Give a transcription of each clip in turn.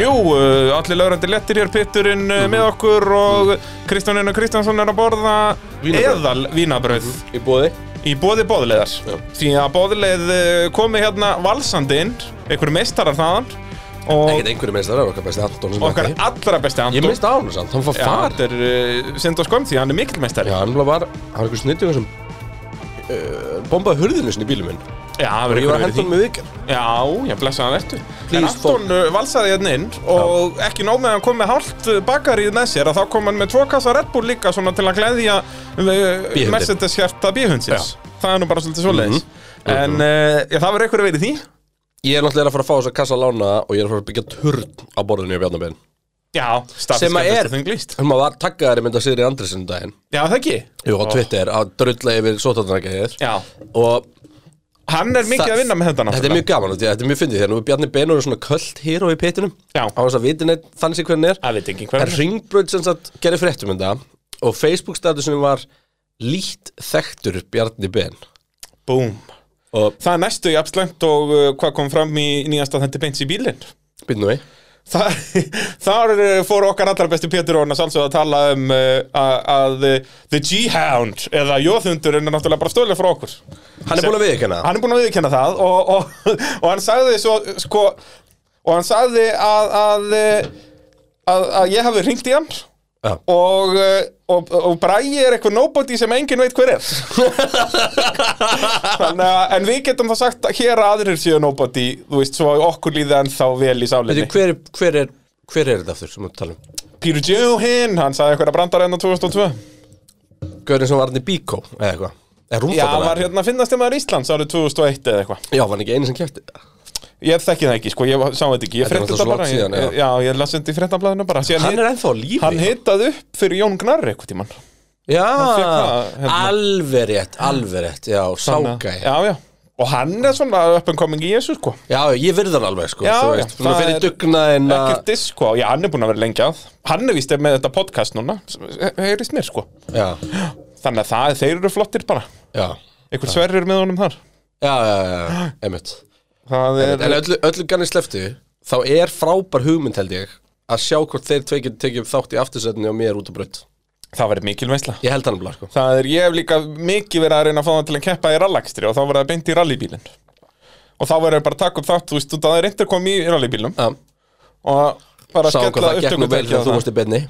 Jú, uh, allir laurandi lettir hér, Pitturinn Mhm. uh, með okkur og Kristján Einar Kristjánsson er að borða Vínabrauð. eðal vínabrauð Í bóði í bóði bóðleiðar. Já. Því að bóðleið uh, komi hérna valsandi inn, einhverju meistarar þaðan og Ekkert einhverju meðist, það er okkar besti Anton sem okkar ekki. allra besti Ég Anton. minnst á hann samt, hann fór Já, far þetta er uh, synd og skoim því hann er mikil meistari. Já, hann var, hann var einhver snittingur sem uh, bombaði hurðinu sinni í bílum minn Já, það Og verður ég var að ykkur henda verið honum því. með vikar Já, já, blessaðan vertu. En Please, Anton uh, valsaði hérna inn og ekki nóg með að hann kom með hálft uh, bakaríð með sér að þá kom hann með tvo kassa Red Bull líka svona til að gleðja uh, Bíhundinn. Mercedes hjarta bíhundsins. Það er nú bara svolítið Mhm. svoleiðis. En uh, já, það verður ykkur verið því. Ég er náttúrulega að fara að fá þess að kassa lána og ég er að fara að byggja turn á borðinu í Bjarnabæðin Já, stafiska Sem að er- þunglist. Hann var takkaðari mynd að Sigri Andresen um daginn Já, það ekki. Jú, á Twitter, að drulla yfir sótarnarkæðið Já. Og Hann er mikið það- að vinna með þetta Þetta er mjög gaman, þetta er- þetta er mjög fyndið Þegar nú er Bjarni Benur er svona köld hér og í pétinum Já. Á þess að viti neitt, þannig sé hvernig er Það veit ekki En hvernig. Ringbröð sem sagt gerir fréttum um þetta Og Facebook statusinum var Lít þekktur Bjarni Ben Búm. Og Það er næstu í abslæmt og uh, hvað kom fram í nýjasta þendir beins í bílinn. byrnum við Þa, þar eh, fór okkar allra besti Pétur Ónas alveg að tala um uh, að eh, The G-Hound eða Jóðhundurinn er náttúrulega bara stölið frá okkur Hann er Sem- búin að viðkjanna Hann er búin að viðkenna það og, og, og hann sagði svo sko, og hann sagði að að, eh, að, að ég hafi ringt í hann Já. og, eh, og, og Bragi er eitthvað nobody sem enginn veit hver er Þannig að, en við getum þá sagt að hér að aðrir séu nobody, þú veist, svo að okkur líða ennþá vel í sálinni Veitir, hver, hver, er, hver er þetta aftur sem við tala um? Peter Johan, hann sagði eitthvað að hérna brandar enn á 2002 Gaurinn sem var hann í Bíkó eða eitthvað Er Já, hann var rúmfattar hérna að finnast þeim Íslands árið 2001 eða eitthvað Já, var hann ekki einu sem kæfti Ég þekki það ekki, sko, ég sá þetta ekki Ég Þetta er frétti náttúrulega þetta svo bara langt síðan, ég, Já, ég las þetta í fréttablaðinu bara Síðan Hann er ennþá á lífi Hann hittað upp fyrir Jón Gnarri eitthvað tímann Já, fékk það, hérna. alveg rétt, alveg rétt Já, ságæ Já, já Og hann er svona up and coming í þessu, sko Já, ég virði hann alveg sko Já, þú já, veist, Svona það fyrir er dugnaðin Ekkert disk, sko Já, hann er búin að vera lengi að Hann er víst með þetta podcast núna he- Heyrist mér, sko Já, Þannig að það, þeir eru flottir bara já, Einhver sverrir með honum þar já, já, já, einmitt Það er En öllu, öllu ganni sleftu Þá er frábær hugmynd held ég Að sjá hvort þeir tvei getur tekið þátt í aftursætni og mér út á braut Það verður mikil veisla Ég held hann blá sko Það er, ég hef líka mikið verið að reyna að fá það til að keppa í rallakstri og þá verið það beint í rallybílinn. Og þá verið bara að taka upp þátt, þú veist, þú það er reynd að koma í rallybílnum Já, og bara að sá hvað skella það gekk nú vel upptökutæki þegar og þú það. varst í benni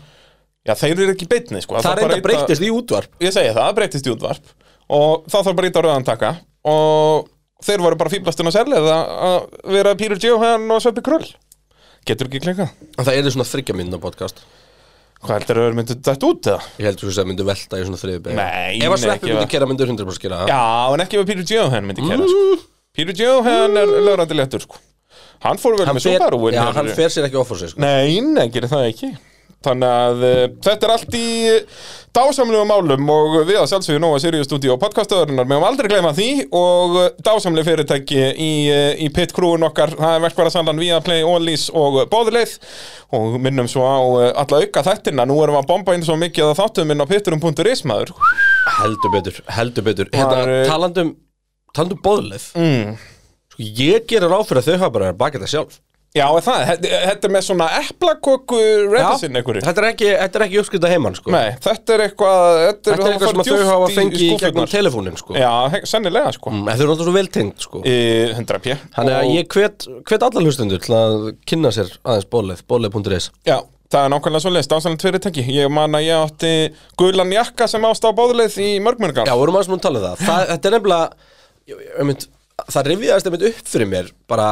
Já, þeir eru ekki í beinni, sko. Það þarf bara reynda að ýta- breyktist í útvarp Ég segi það, það breytist í útvarp og þá þarf bara að íta rauðan taka og þeir voru bara fýblastun og særlega að að vera Pírur Jóhann og Sveppi Krull. Getur ekki klikkað. En Það er svona þryggja mynda podcast Hvað heldur að vera myndið dætt út eða? Ég held þú veist að myndu velta í svona þriði beig Nei, Ef að nei, sveppi ekki myndi það. kera myndur 100% gera það Já, en ekki ef að Pírur Jóhann myndi kæra, Mm. sko. Pírur Jóhann er laurandi léttur, sko. Hann fór vel Hann með fer- Subaru-in. Já, hefur- hann fer sér ekki ofur sig sko Nei, nei, gerir það ekki Þannig að uh, þetta er allt í uh, dásamlegum málum og við að sjálfsögðu nóga Sirius Studio og podcastöðurinnar meðum aldrei gleyma því og uh, dásamleg fyrirtæki í, uh, í pit crewun okkar það er verkvara salan Viaplay, Allís og uh, Bóðleið og minnum svo á uh, alla auka þættina, nú erum við að bomba inn svo mikið að þáttum inn á pitturum.is maður Heldur betur, heldur betur Var, Hérna, eh, talandum, talandum bóðleif mm. Sko, ég gerir ráð fyrir að þau hafa bara að baka þetta sjálf Já, er það, þetta- þetta er með svona eplakokku reddisinn einhverju þetta er ekki, þetta er ekki uppskrita heimann, sko Nei, þetta er eitthvað Þetta Þetta er eitthvað sem að þau hafa fengið í gegnum skúffurnar. telefónin, sko Já, he- sennilega sko Mm, En þau eru alltaf svo vel tengt, sko Í 100p Þannig að Og- ég hvet, hvet allar hlustendur til að kynna sér aðeins bóðleif, bóðleif.is Já, það er nákvæmlega svo leist, ástæðanlega fyrirtæki Ég man að ég átti gulan jakka sem ást á bóðleið í mörgmörgar Já, vorum aðeins múin að tala um það. það Þetta er nefnilega ég, ég mynd, Það rifjaðist einmitt upp fyrir mér bara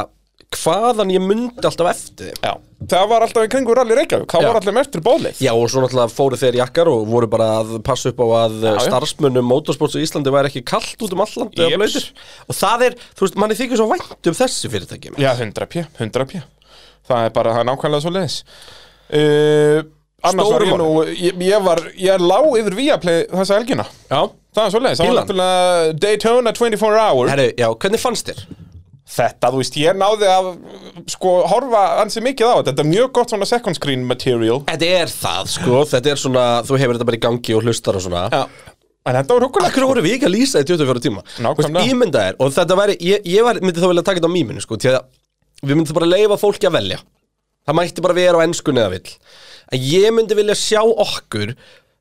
hvaðan ég myndi alltaf eftir þeim. Já, það var alltaf í kringu rally Reykjavík Það Já. var allir með eftir bóðleið Já, og svo náttúrulega fóru þeir jakkar og voru bara að passa upp á að já, já. starfsmönnum motorsports á Íslandi væri ekki kallt út um alland eða Jeps. blöytir og það er, þú veist, manni þykir svo vænt um þessi fyrirtæki Já, 100p, 100p Það er bara, það er nákvæmlega svo leis uh, Annars var Stórum ég nú Ég, ég var, ég lá yfir Viaplay þessa helgina já. Það er svo leis, það var Bílan. náttúrulega Daytona 24 Hour Herru, já, hvernig fannst þér? Þetta, þú veist, ég náði að sko, horfa ansi mikið á þetta Þetta er mjög gott svona second screen material Þetta er það, sko, þetta er svona þú hefur þetta bara í gangi og hlustar og svona Já En þetta var hugulegt Akkur voru við ekki að lýsa í 24 tíma Nákvæmlega. Ímynda er, og þetta væri, ég, ég var, myndi þá velja að taka þetta á mýminu sko, því að við myndum bara leifa fólki að velja Það mætti bara vera á ennskunni eða vill En ég myndi vilja sjá okkur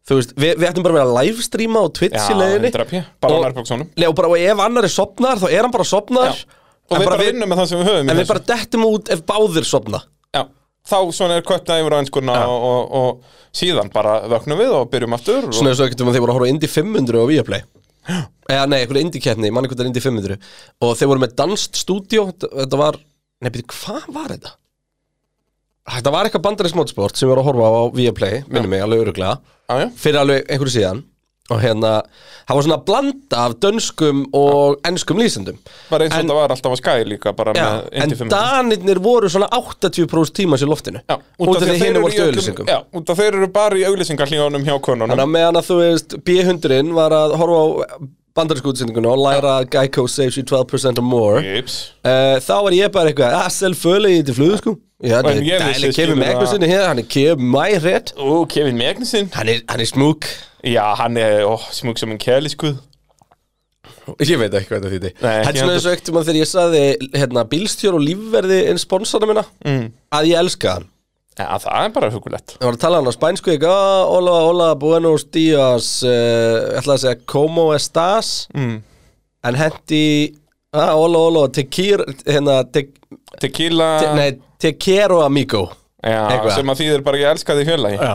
Þú veist, við, við ættum bara að vera að livestreama á Twitch í leiðinni drapja, bara á Og- nærbóksónum Nei, og, bara, og ef annar er sopnar, þá er hann bara sopnar Já. Og við bara vinnum með það sem við höfum í En við þessu. bara dettum út ef báðir sopna Já, þá svona er kvötta yfir á einskuna og, og, og síðan bara vöknum við og byrjum aftur og... Svona þessu ekkert um að þeir voru að horfa á Indy 500 og Viaplay Eða nei, einhverju Indy-keppni, mann einhvern Indy 500 Og þeir voru með danst stúdíó Þetta þetta var, nei byrju, hvað var þetta? Þetta var eitthvað bandarins mótsport sem við voru að horfa á Viaplay, minnum mig, alveg öruglega Já, já, fyrir alveg einhverju síðan og hérna, það var svona blanda af dönskum og enskum lýsendum bara eins og En- þetta var alltaf að skæði líka bara Já, með en Indy 500. danirnir voru svona 80% tímans í loftinu Já, út af því þeir hinn eru voru í til öllum- auðlýsingum Já, út af þeir eru bara í auðlýsingarlíðunum hjá konunum þannig að meðan að þú veist B100 var að horfa á bandarísku útsendinguna og læra að Geico saves you 12% or more Jips. uh, þá var ég bara eitthvað "Ah, að self fölu í til flugu sko já, En þetta ég er vissi, dæli skilur kemur með það- eitthvað sinni hér hann er kemur mæ rétt Ó, Kevin Magnussen hann er, hann er smúk Já, hann er ó, smug sem en kæliskuð Ég veit ekki hvað þetta þýtti Nei, ekki Þetta er svona heldur. þessu öktum að þegar ég saði hérna, bílstjór og lífverði en sponsana minna mm. að ég elska hann Já, það er bara hugulegt Ég var að tala hann á spænsku ég, oh, Hola, hola, buenos días uh, ég ætla að segja como estás mm. en hendi ah, Hola, hola, te quiero hérna, te, Tequila te, nei, te quiero amigo Já, eitthvað. sem að þýðir bara ég elska þig fjölaði Já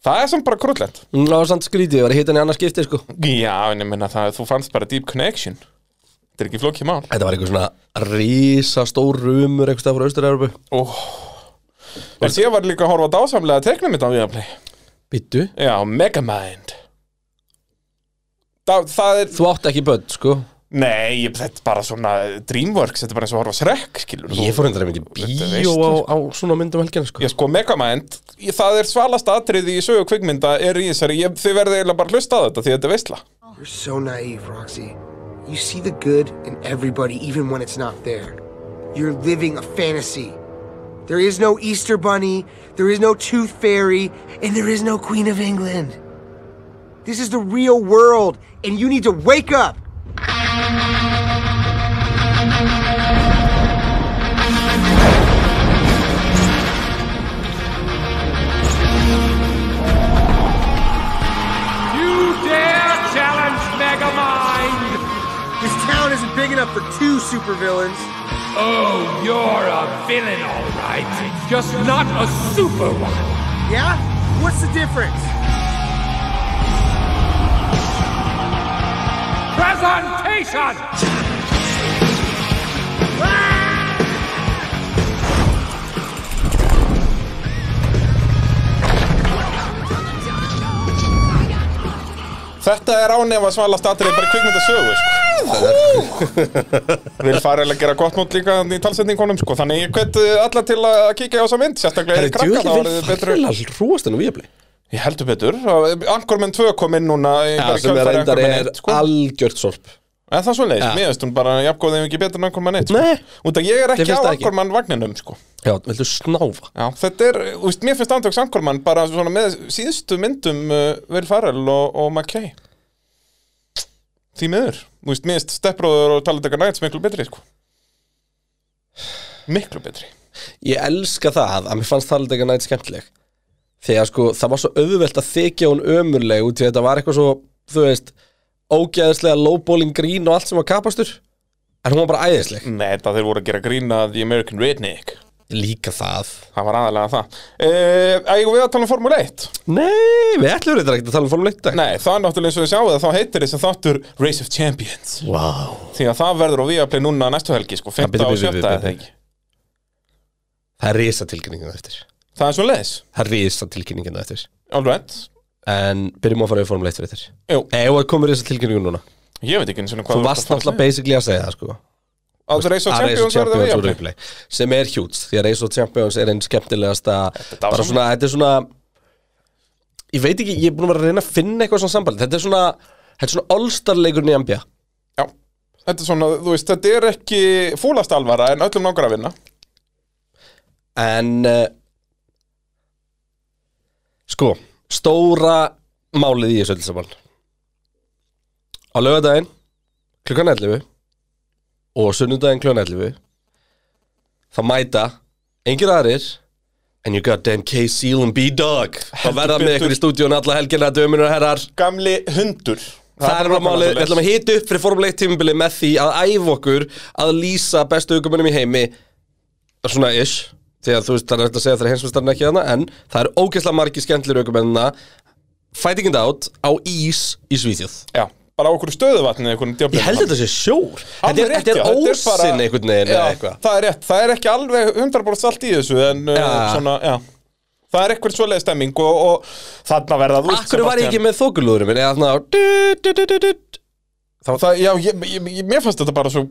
Það er sem bara krúllett Ná, samt skrítið, ég Mm, var að hita hann í annars skipti sko. Já, en ég minna það, þú fannst bara deep connection Þetta er ekki flókið mál Þetta var eitthvað svona risastór rumur eitthvað stað frá Austur-Európu Ó En ég var líka að horfa dásamlega teiknum mitt á Viaplay Bittu Já, Megamind Það, það er Þú átt ekki börn, sko Nei, ég, þetta er bara svona Dreamworks, þetta er bara eins og að horfa á Shrek, skilur Ég fór hendur einmitt í Þetta er bíó veistla, á, á svona myndum helgina sko. Já, sko, Megamind, ég- það er svalast atriði í sögu kvikmynda er í þessari, ég, þið verðið eiginlega bara að hlusta á þetta því þetta er veistla. You're so naive, Roxy. You see the good in everybody, even when it's not there. You're living a fantasy. There is no Easter Bunny, there is no Tooth Fairy, and there is no Queen of England. This is the real world, and you need to wake up! You dare challenge Megamind? This town isn't big enough for two supervillains. Oh, you're a villain, all right. Just not a super one. Yeah? What's the difference? Presentation! Þetta er ánefa svalast atriði bara í kvikmynda sögu, sko. Vil fara að gera gott mót líka þarna í talsetningunum, sko, þannig ég hvet eh, alla til að kíkja á þessa mynd, sérstaklega Herri, í krakka, þá djúvillig verður vil þið betru. faglega hróast hennu viðabli Ég heldur betur, Ankormenn 2 kom inn núna í Já, bara sem er kjölfarið reyndar Anchorman er 1, sko. algjört sorp En það er svoleiðis, Já. mér veist hún bara jafngóðið ekki betur en Ankormann 1 sko. Nei. Út að ég er Þér ekki finnst á það ekki? Ankormann vagninum sko. Já, viltu snáfa? Já, þetta er, þú veist, mér finnst Andrjóks Ankormann bara svona með síðustu myndum uh, Will Farrell og, og McKay Því miður Þú veist, mér finnst Steppróður og Talentekar Nights miklu betri sko. Miklu betri Ég elska það að mér fannst þarlega nætt skemmtileg Þegar sko, það var svo auðvelt að þykja hún ömurleg út í þetta var eitthvað svo, þú veist ógeðislega lowballing grín og allt sem var kapastur En hún var bara æðisleg Nei, þetta þeir voru að gera grína The American Redneck Líka það Það var aðalega það uh, Ægum við að tala um Formule 1 Nei, við ætlum reyndar ekkert að tala um Formule 1 í dag. Nei, það er náttúrulega eins og við sjáum það Þá heitir þessi þáttur Race of Champions Vá Því að það verður á Viaplay núna næstu helgi sko, 5. bíddu, og bíddu, 7. bíddu, eða bíddu. ekki Það er risa tilkynningin eftir Það er svo leiðis, Það er risa tilkynningin eftir all right En byrjum að fara við Formule 1 fyrir þér Jú, Ef það komur þess að tilkynningu núna ég veit ekki eins og hvað Þú varst náttúrulega basically að segja það sko Að Race of Að Race of Champions verður á Champions úr Viaplay replay Sem er hjúts Því að Race of Champions er einn skemmtilegasta er Bara dásamlegt. svona, þetta er svona Ég veit ekki, ég er búin að vera að reyna að finna eitthvað svona samband Þetta er svona Þetta er svona allstarleikurinn í NBA Já, þetta er svona, þú veist, þetta er ekki fúlast alvara en öllum langar að vinna En uh, Sko, stóra málið í þessu öllu saman Á laugardaginn klukkan 11 og sunnudaginn klukkan 11 þá mæta engir aðrir And you goddamn K. Seal and B-Dog Og verða með betur. ykkur í stúdíun alla helgina Dömunur og herrar Gamli hundur Það er bara nákvæmlega málið, við svoleiðis. ætlum að hita upp fyrir formuleitt tímabili með því að æfa okkur að lýsa bestu aukumönnum í heimi svona ish því að þú veist, það er eftir að segja að það er heimsmyndstarinn ekki þarna en það er ógeðslega margi skemmtlir aukumennina fighting it out á ís í Svíþjóð Já, bara á okkur stöðuvatni einhvern djöfnum. Ég held þetta sé sjór Þetta er, Alveg rétt, þetta já, er þetta bara- ósinn einhvern veginn Já, eða eitthvað Það er rétt, það er ekki alveg 100% allt í þessu En uh, Já. svona, já Það er eitthvað svoleið stemming og, og þarna verða þú Akkur var ég ekki með þokulúðurum minn eða þarna á Þá, það, já, ég, ég, ég, mér fannst þetta bara svo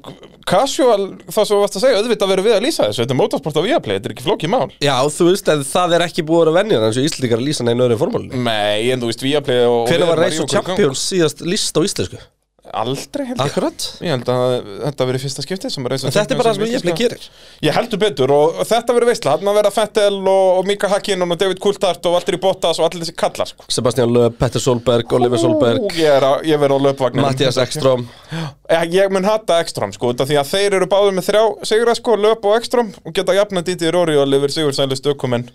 casual það sem þú varst að segja, auðvitað verður við að lýsa þessu Þetta er motorsport á Viaplay, þetta er ekki flókið mál Já, þú veist, en það er ekki búið að vera venjur eins og Íslendingar að lýsa neina öðru formúlunni Nei, en þú veist Viaplay og og Hvernig við erum að var Race rífa of okkur í gang. Champions síðast lýst á íslensku? Aldrei held ég Akkurat Ég held að þetta verið fyrsta skiptið sem Race of En þetta er Champions bara það sem er ég íslenska. gerir Ég heldur betur og þetta verður veistla Þarna verða Fettel og, og Mika Hakkinen og David Coulthard og Valtteri Bottas og allir þessi kallar sko. Sebastian Lööf, Petter Solberg, Oliver Solberg Ú, Ég, er að- ég verður á löpvagninu Mattias Ekström Ég, ég mun hata Ekström sko út af Því að þeir eru báður með þrjá sigra sko Löp og Ekström og geta jafna dítið Róri og Oliver Sigur Sælust ökumenn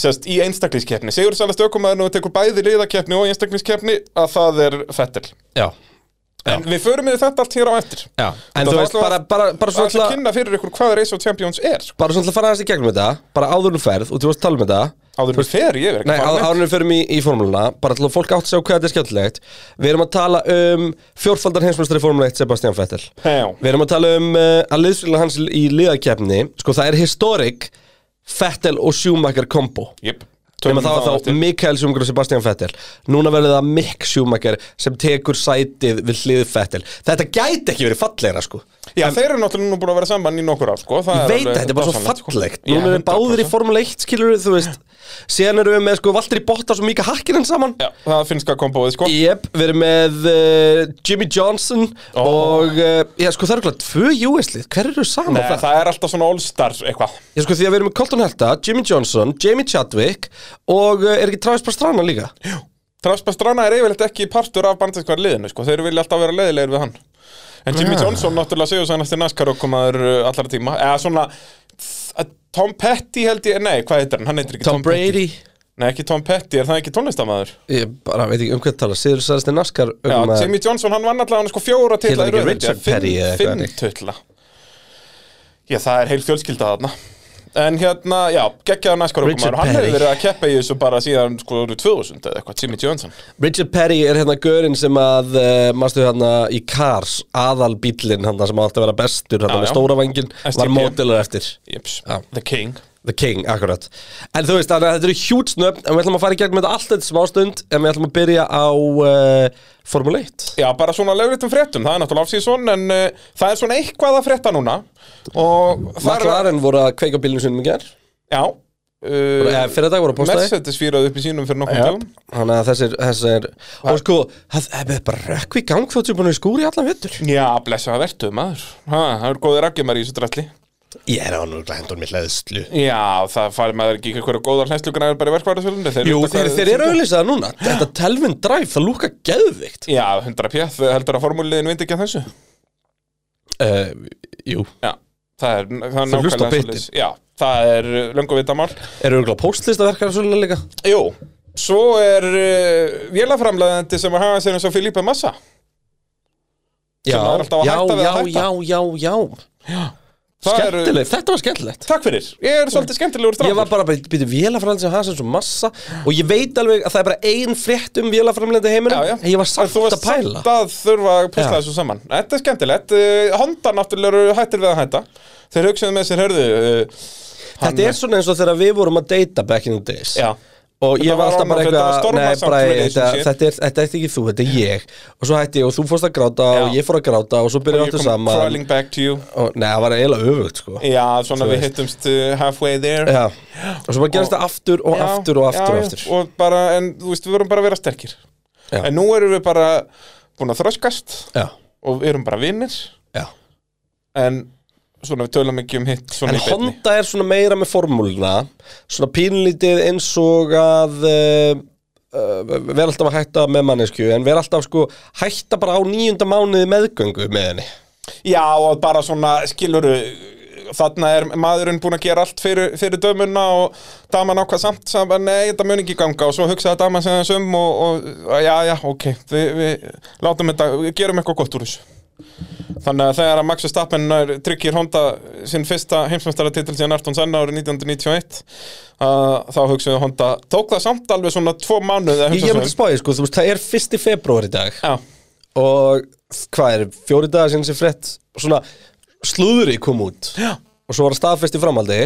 Sest í einstaklingskeppni Sigur Sælust ökumenn og tekur bæði liðakeppni og einstaklingskeppni að það er Fettel Já, En við förum við þetta allt hér á eftir já En Þetta þú var veist, alltaf- bara, bara, bara Það svona ætla ætla að kynna fyrir ykkur hvað Race of Champions er sko. Bara svona ætla að fara aðeins í gegnum þetta Bara áður en þú ferð og þú varst að tala um þetta Áður við fer ég er ekki Nei, að fara á- neitt. áður en við förum í, í formúluna Bara til að fólk átt að sjá hvað þetta er skemmtilegt Við erum að tala um fjórfaldar heimsmyndstari formúla 1 Sebastian Vettel Já. Við erum að tala um uh, að liðsfélag hans í liðakefni Sko, það er historic Vettel og Schumacher kombo Jep. um Nefnum það það á var þá eftir. Mikael Schumacher og Sebastian Vettel Núna verður það Mick Schumacher sem tekur sætið við hlið Vettel Þetta gæti ekki verið fallegra sko Já, þeir eru náttúrulega nú búin að vera saman í nokkur ár sko. Ég veit að þetta er sko. bara svo fallegt Núna eru báðir í form Formule 1 skilur þú veist Síðan eru við með sko Valtteri Bottas og Mika Hakkinen saman Já, það er finnska komboið sko Jep, við erum með uh, Jimmy Johnson og uh, já, sko það eru klart tvö US-lið, hver eru saman Nei, á það? það er alltaf svona all-star eitthvað Já, sko því að við erum með Colton Helta, Jimmy Johnson, Jamie Chadwick og uh, er ekki Travis Pastrana líka? Traspastrana er yfirleitt ekki partur af bandinskvar liðinu sko. þeir vilja alltaf vera leiðilegir við hann en Jimmy Ah. Johnson náttúrulega segjum sannast til NASCAR okkumaður allra tíma eða svona þ- Tom Petty held ég, nei hvað heitir hann, hann heitir ekki Tom Brady Petty nei ekki Tom Petty, er það ekki tónlistamæður Ég bara veit ekki um hvað tala, Sigur Sæðasti Naskar um Já, að- Jimmy Johnson, hann vann allavega hann sko fjóra titla í Heitir röð, ekki Richard held ég. Petty eða eitthvað Fimm, þannig? fimm titla Já, það er heil fjölskylda þarna En hérna, já, geggjaða næskar Richard okkur Hann hefur Petty. verið að keppa í þessu bara síðan sko árið 2000 eða eitthvað, Jimmy Johnson Richard Perry er hérna görinn sem að uh, mástu hérna í Cars aðal bílinn hann sem átti að vera bestur Já, hann já. með stóra vanginn var STP. mótilar eftir Jips, Já. The King The King, akkurat En þú veist, þannig að þetta eru hjút snöfn en við ætlum að fara í gegn með þetta allt þetta smástund en við ætlum að byrja á uh, Formule 1 Já, bara svona lögritum fréttum, það er náttúrulega afsíðsson En uh, það er svona eitthvað að frétta núna Og það er McLaren voru að kveika bílinn sinum í ger Já uh, Eða, fyrir dag voru að posta þig Mercedes fýraði upp í sínum fyrir nokkum dögum Þannig að þessir, þessir Og sko, það það er bara rökkvi í gang þóttu búin að vera í skúr í allan vettur Já, blessa það vertu, maður ha, Það er góðir afgjumar í þessu dralli Ég er á nú glændur með hlæðslu Já, það fari maður ekki eitthvað góðar hlæstlugræður bara í verkvæðarsvölunni Þeir, Jú, vita þeir, hvað- þeir eru auðvitað núna Þetta Telvin Drive, það lúka geðvikt Já, 100 pjæð, heldur að formúliðin vind ekki að þessu uh, Jú Já, það er, það er Þeir hlusta á bitin. svoleiðis. Já, það er uh, löngu vitamál Eru auðvitað póstlistaverkar svolítið líka? Jú, svo er uh, vélaframleðandi sem að hafa sér eins og Filipe Massa Já, það er alltaf að já, hætta við að já, hætta. já, já, já Það eru- Skemmtilegt, þetta var skemmtilegt Takk fyrir, ég er svolítið skemmtilegur Ég strákur var bara að byrja vélaframlega sem hans eins og massa Og ég veit alveg að það er bara ein frétt um vélaframlega heiminum Já, já. En Ég En var samt þú að varst pæla samt að þurfa að pusla Já. þessu saman Þetta er skemmtilegt, uh, Honda náttúrulega eru hættir við að hætta Þeir hugsaðu með sér, hörðu uh, Þetta er svona eins og þegar við vorum að deyta back in the days Já, Og Þetta ég var var alltaf bara annað, þetta var eitthvað Nei, stormasamt bara þetta, relationship. þetta, er, þetta er ekki þú, þetta er ég Og svo hætti ég og þú fórst að gráta Já. Og ég fór að gráta og svo ég byrjum við kom aftur saman crawling back to you og, Nei, það var eiginlega öfugt sko Já, svona Þú við veist. hittumst uh, halfway there Já, og svo bara gerist það aftur og aftur og aftur og aftur og bara, en þú veist, við vorum bara að vera sterkir Já. en nú erum við bara búin að þröskast Já, og við erum bara vinnir já en svona við tölum ekki um hitt svona En í beinni. Honda er svona meira með formúluna Svona pínlítið eins og að uh, uh, vera alltaf að hætta með mannesku En vera alltaf sko hætta bara á nýjunda mánuði meðgöngu með henni já og bara svona skiluru þarna er maðurinn búin að gera allt fyrir, fyrir dömuna og daman ákvað samt, samt nei, þetta mun ekki ganga og svo hugsaði daman sem þessum og, og, og já, já, ok, við, við látum þetta, við gerum eitthvað gott úr þessu þannig að þegar að Max Verstappen nær- tryggir Honda sinn fyrsta heimsmeistaratitill síðan Ayrton Senna árið 1991 að þá hugsaði Honda tók það samt alveg svona tvo mánuði að Ég, hugsa ég sig myndi spáði, sko, þú veist, það er fyrst í februar í dag um. Já. Og hvað er, fjóri dagar sinni sem frett Svona slúðri kom út Já. Og svo var það staðfest í framhaldi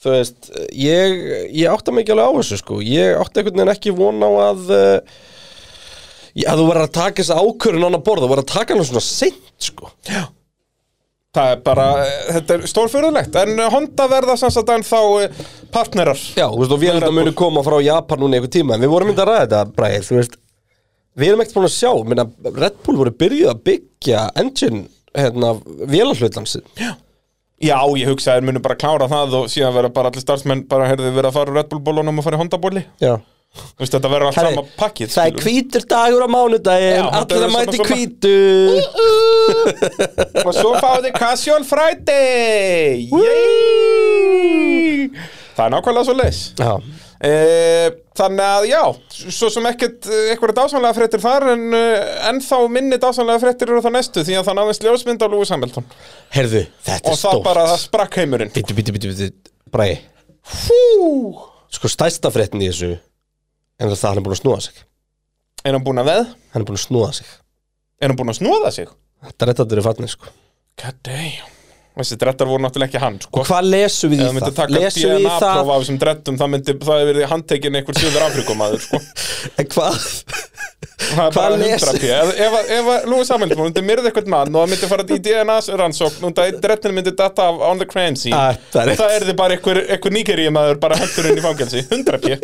Þú veist, ég, ég átta mig ekki alveg á þessu, sko Ég átta einhvern veginn ekki von á að uh, Já, þú verður að taka þessi ákvörun annað borð Þú verður að taka hana svona seint, sko Það er bara, eh, þetta er stórfyrðulegt En eh, Honda verða sem sagt en þá partnerar Já, þú veist, og við heldum að muni koma frá Japan núna í einhver tíma, en við vorum myndið að ræða þetta, Bræðið, þú veist, við erum ekkert búin að sjá, minna, Red Bull voru byrjuð að byggja engine, hérna, vélarhlutlansi. Já, ég hugsa að þeir munu bara klára það og síðan verða bara allir starfsmenn bara heyrðu verið að fara úr Red Bull bólunum og fara í Honda bóli Já. Þú veist, þetta verður allt Herri, sama pakkið það er skilur. hvítur dagur á Já, mánudaginn, þetta allir er að svona- mæti svona- hvítur. Og svo fáið þið Casual Friday Yay! Það er nákvæmlega svo leis Já. Eh, Þannig að já, svo sem ekkert eitthvað dásanlega fréttir þar en eh, ennþá minni dásanlega fréttir eru það næstu því að það náðist ljósmynd á Lúi Samhjöldun Herðu, þetta og er það stórt. bara það sprakk heimurinn Bittu, bittu, bittu, bittu, Bræðið, Hú! sko stæsta fréttin í þessu, en það er að hann er búin að snúa sig. Er hann búinn að veð? Hann er búin að snúa sig. Er hann búinn að snúða sig? Þetta er rétt að þetta eru farnir, sko. God damn Þessi drettar voru náttúrulega ekki hann sko. Og hvað lesum við Eða í myndi það? taka Lesum við í það DNA-prófa af þessum drettum það myndi, það hefur verið handtekinn einhver síður Afrikumaður sko. En hvað, Það er Hvað bara les- 100 pí Ef, ef, ef Lúi Samhjöldum myndi myrða eitthvað mann og það myndi fara í DNA-rannsókn og það drettin myndi data af on the crime scene Ah, það er og rétt. það erði bara einhver, einhver nýgeríumaður bara hendur inn í fangelsi 100 pí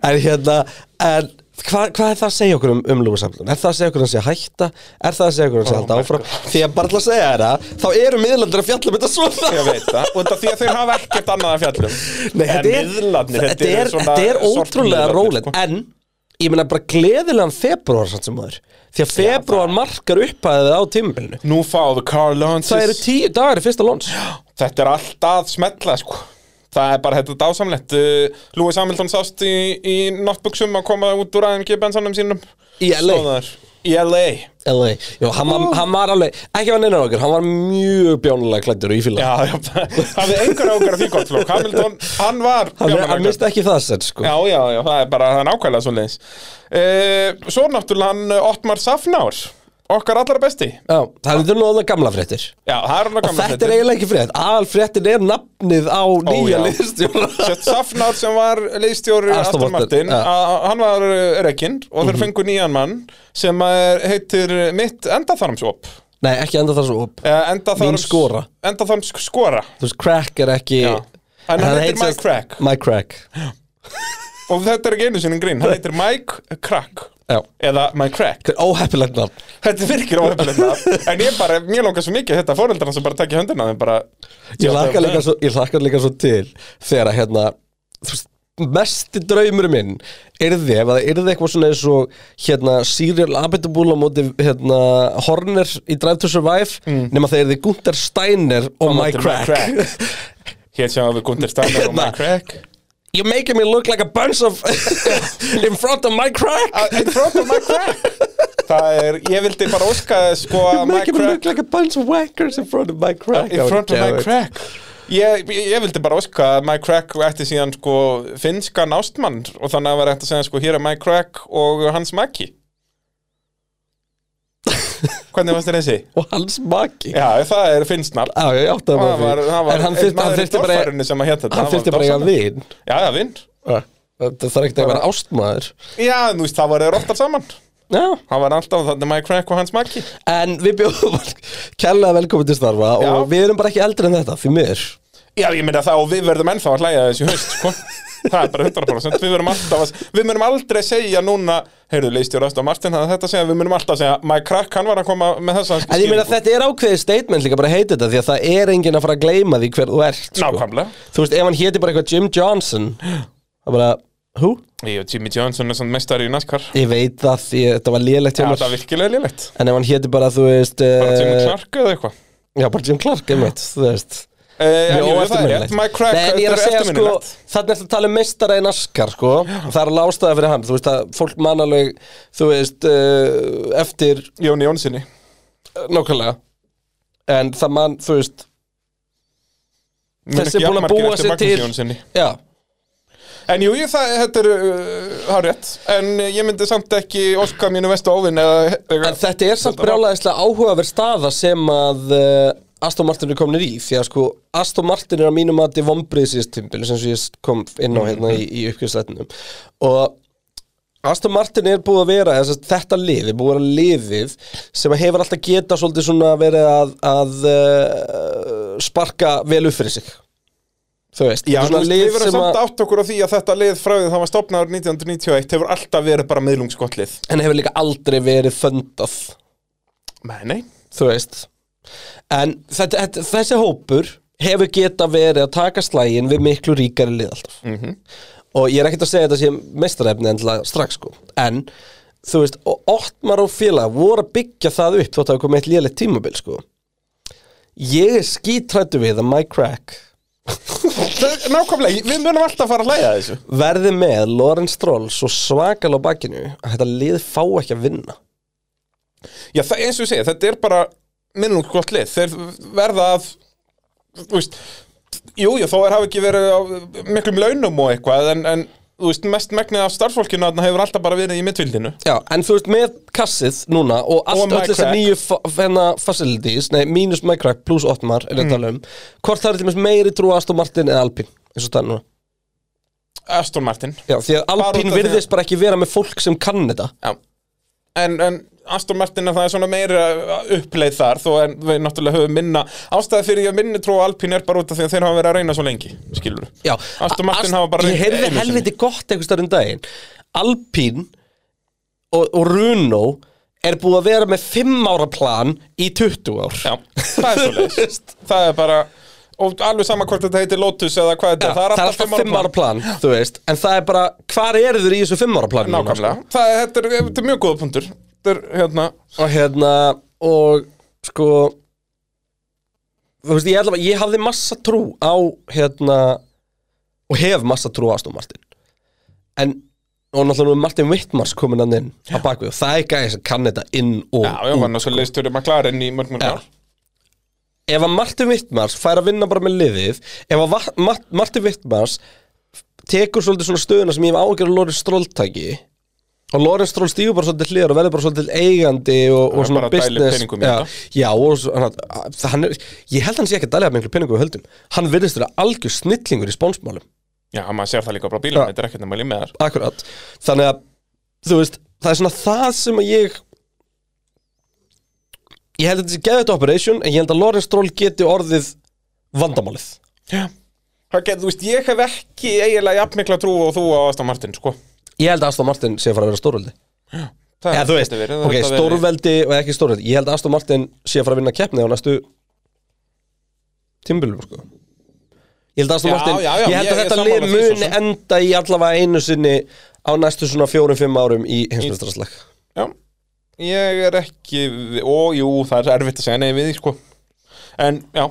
en hérna en Hva, hvað er það að segja okkur um umlúfarsamlun? Er það að segja okkur að hann sé að hætta? Er það að segja okkur að hann sé að halda áfram? Því að bara til að segja þér það, þá eru miðlandur að fjalla með þetta svona. Ég veit það, og þetta því að þeir hafa ekkert annað að fjallum Nei, þetta er, miðlarnir, þetta er, svona þetta er sortmiðlarnir, ótrúlega rólegt, sko. en ég meina bara gleðilegan februar samt sem maður. Því að februar markar upphæðið á tímabilinu. Nú fáðu Carl Launches Það eru tíu dagar í fyrsta lóns. Þetta er allt að smetla sko Það er bara þetta dásamlegt Uh, Lewis Hamilton sást í, í náttbuksum að koma út úr AMG bensanum sínum Í LA. Stóðar. Í LA LA. Jó, hann, var, hann var alveg, ekki var neina okkur, hann var mjög bjónulega klættur og í fíla. Já, já, það er einhver ákveður af því gott flók Hamilton, hann var hann, bjánalegur. hann misti ekki það sett, sko. Já, já, já, það er bara, það er nákvæmlega svo leins Svo náttúrulega hann uh, Ottmar Safnár Okkar allra besti Já, það er nú alveg gamla fréttir Já, það er hann að Og gamla þetta er eiginlega ekki frétt Aðal fréttin er nafnið á nýja já. liðstjóra Sett Safnár sem var leiðstjóri Aston Aston Martin, Mhm. Martin, ja. að- hann var eh, rekinn og þeir fengu nýjan mann sem er, heitir mitt endaþarmsop Nei, ekki enda það svo upp Mín endaþarms, skora. endaþarms skora Þú veist, crack er ekki Já. En hann það heitir Mike sem- Crack. Mike Crack og þetta er ekki einu sinni grín, hann heitir Mike Crack Já eða Mike Crack Þetta er óheppilegt nafn þetta er virkir óhefnilega en ég bara, mér langar svo mikið að þetta fóreldran sem bara tekja höndina á þeim bara Ég hlakka líka, svo- ég hlakka líka svo til Þegar að hérna Þú veist mesti draumur minn yrði ef það yrði eitthvað svona eins og hérna Serial Abitable á móti hérna Horner í Drive to Survive nema það yrði Gunther Steiner og Mike Mm. móti Mike Crack, Crack. hér sem við Gunther Steiner og Hérna. Mike Crack You're making me look like a bunch of in front of my crack. einn frótt og Mike Crack það er, ég vildi bara óska þess, sko að You're Mike making me Crack Ah, look like a bunch of wackers in front of my crack. Oh, In front of my crack Ég, ég, ég vildi bara óska að my crack ætti síðan sko finnskan ástmann og þannig að vera eftir að segja sko hér er my crack og hans maki Hvernig varst þér þessi? Og hans maki. Já, Já, það er finnsnar já, ég átti að Það var, það var En hann einn þyrfti hann maður í þyrfti bara torfærunni sem að hét þetta, Hann það var þyrfti bara eiga dásamlegt. vin. Já, já, vinn Það þarf ekkert að vera ástmaður. Já, þú veist, það var þeir rottar saman Já. Það var alltaf þannig my crack og hans maki En við bjóðum kærlega velkomin til starfa og Já. við erum bara ekki eldri en þetta, fyrir mér. Já, ég meina það og við verðum ennþá að hlæja þessu í haust, sko. Það er bara 100%. Við verðum alltaf að, við munum aldrei segja núna, heyrðu, leistjóra Aston Martin hafði þetta að segja, við munum alltaf að segja, my crack, hann var að koma með þessa En ég meina þetta er ákveðið statement líka bara að heita þetta því að það er enginn að fara að gleyma því hver þú ert. Sko. Nákvæmlega. Þú veist, ef hann héti bara eitthvað Jim Johnson, það bara, who? Ég og Jimmy Johnson er svona mestari í NASCAR. Ég veit það því að þetta var lélegt hjá Já, mér það er virkilega lélegt. En ef hann héti bara, þú veist Bara Jimmy eh, Clark eða eitthvað. Já, bara Jim Clark, einmitt, þú veist Eh, Mjög jú, það er óeftirminnilegt. rétt. Mike Crack, Nei, en ég er þetta er að segja sko eftirminnilegt. Þannig er að tala um meistara í naskar sko Það er lástaða fyrir hann Þú veist að fólk man alveg Þú veist uh, Eftir Jóni Jónssoni Nákvæmlega En það man Þú veist Muna Þessi ekki er búin að jafnmargir búa eftir sig Magnúsi til- Jónssyni. Já En jú, jú, það, þetta er uh, hár rétt En uh, ég myndi samt ekki oska mínu vestu ávinn eða, eða, En þetta er samt Þetta var- brjálæðislega áhugaverð staða sem að uh, Aston Martin er komin í því að sko Aston Martin er að mínum að þið vombrið síðast tímbil sem ég kom inn á hérna í, í uppgjöfslætinum og Aston Martin er búið að vera þess að þetta lið er búið að vera liðið sem hefur alltaf geta svolítið svona verið að, að uh, sparka vel upp fyrir sig þú veist Já, þetta er þú svona veist, lið við verðum sem samt að- átt okkur á því að þetta lið frá því að það var stopnaður 1991 hefur alltaf verið bara miðlungsgottlið en hefur líka aldrei verið föndað Nei, nei þú veist en þetta, þetta, þessi hópur hefur geta verið að taka slægin við miklu ríkari lið alltaf -hmm. og ég er ekkert að segja þetta sem mestarefni endilega strax sko en þú veist, og Ottmar og félag voru að byggja það upp þótt að hafa komið eitt lélegt tímabil sko ég er skítrættu við að Mike Crack Það- Nákvæmlega, við munum alltaf fara að hlæja að þessu verði með Lawrence Stroll svo svakal á bakinu að þetta lið fá ekki að vinna Já, það, eins og ég segja, þetta er bara miðlungsgottlið Þeir verða að Þú veist Jú, jú, þó er hafi ekki verið á miklum launum og eitthvað En, en þú veist, mest megnið af starfsfólkinu þarna hefur alltaf bara verið í mittvildinu Já, en þú veist, með kassið núna og allt Og öll þessar MyCrack. nýju fa- hérna facilities, nei, mínus MyCrack pluss Ottmar, er Mm. þetta alveg um hvort það er til dæmis meiri trú á Aston Martin eða Alpine eins og það er núna, Aston Martin já, því að út af Alpine því að- virðist bara ekki vera með fólk sem kann þetta Já En, en Aston Martin að það er svona meira uppleið þar þó en við náttúrulega höfum minna ástæði fyrir ég að minni trú á Alpine er bara út af því að þeir hafa verið að reyna svo lengi skilur Já, Aston Martin hafa bara Ég reynt heyrði einu sinni. helviti gott einhvers þar um daginn Alpine og, og Runo er búið að vera með 5 ára plan í 20 ár Já, það er svo leis Það er bara, og alveg sama hvort þetta heitir Lotus eða hvað þetta Já, er, það er alltaf fimm ára plan, þú veist En það er bara, hvar eru þeir í þessu fimm ára plan sko. Nákvæmlega, það er, þetta, er, þetta er mjög góða punktur Þetta er hérna og hérna og sko þú veist ég allavega, ég hafði massa trú á hérna og hef massa trú á Aston Martin en og náttúrulega nú er Martin Wittmars komin hann inn á bakvið og það er gæði sem kann þetta inn og Já, ég var náttúrulega leistur um að klara inn í mörg mörg sko. Já. ár ef að Martin Wittmars fær að vinna bara með liðið ef að Va- Ma- Martin Wittmars tekur svolítið svona stöðuna sem ég hef ágjörð að Lorenz Stroll taki og Lorenz Stroll stígur bara svolítið hliðar og verður bara svolítið eigandi og, og er svona bara að dæla upp business peningum í já, þetta. já, og svo- hann, að- hann er, ég held hann sé ekki að dæla með einhverju penningu við höldum hann virðist vera algjör snillingur í spónsmálum Já, maður sér það líka bara á bílum, Já. þetta er ekkert nema að límiðar akkurat, þannig að þú veist, það er svona það sem að ég ég held að þetta sé geðið operation en ég held að Lorenz Stroll geti orðið vandamálið Það getur, þú veist, ég hef ekki eiginlega jafnmikla trú og þú á Aston Martin, sko Ég held að Aston Martin sé að fara að vera stórveldi Það Eða þú veist, getur verið, ok, þetta verið- stórveldi og ekki stórveldi Ég held að Aston Martin sé að fara að vinna keppni á næstu tímbilum sko. Ég held að Aston Já, Martin já, já, Ég ég- held að ég er þetta sammála lið því, svo muni sem. enda í allavega einu sinni á næstu svona fjórum-fimm árum í hinsmestraslag Já, ég er ekki og jú, það er erfitt að segja nei við því, sko En, já,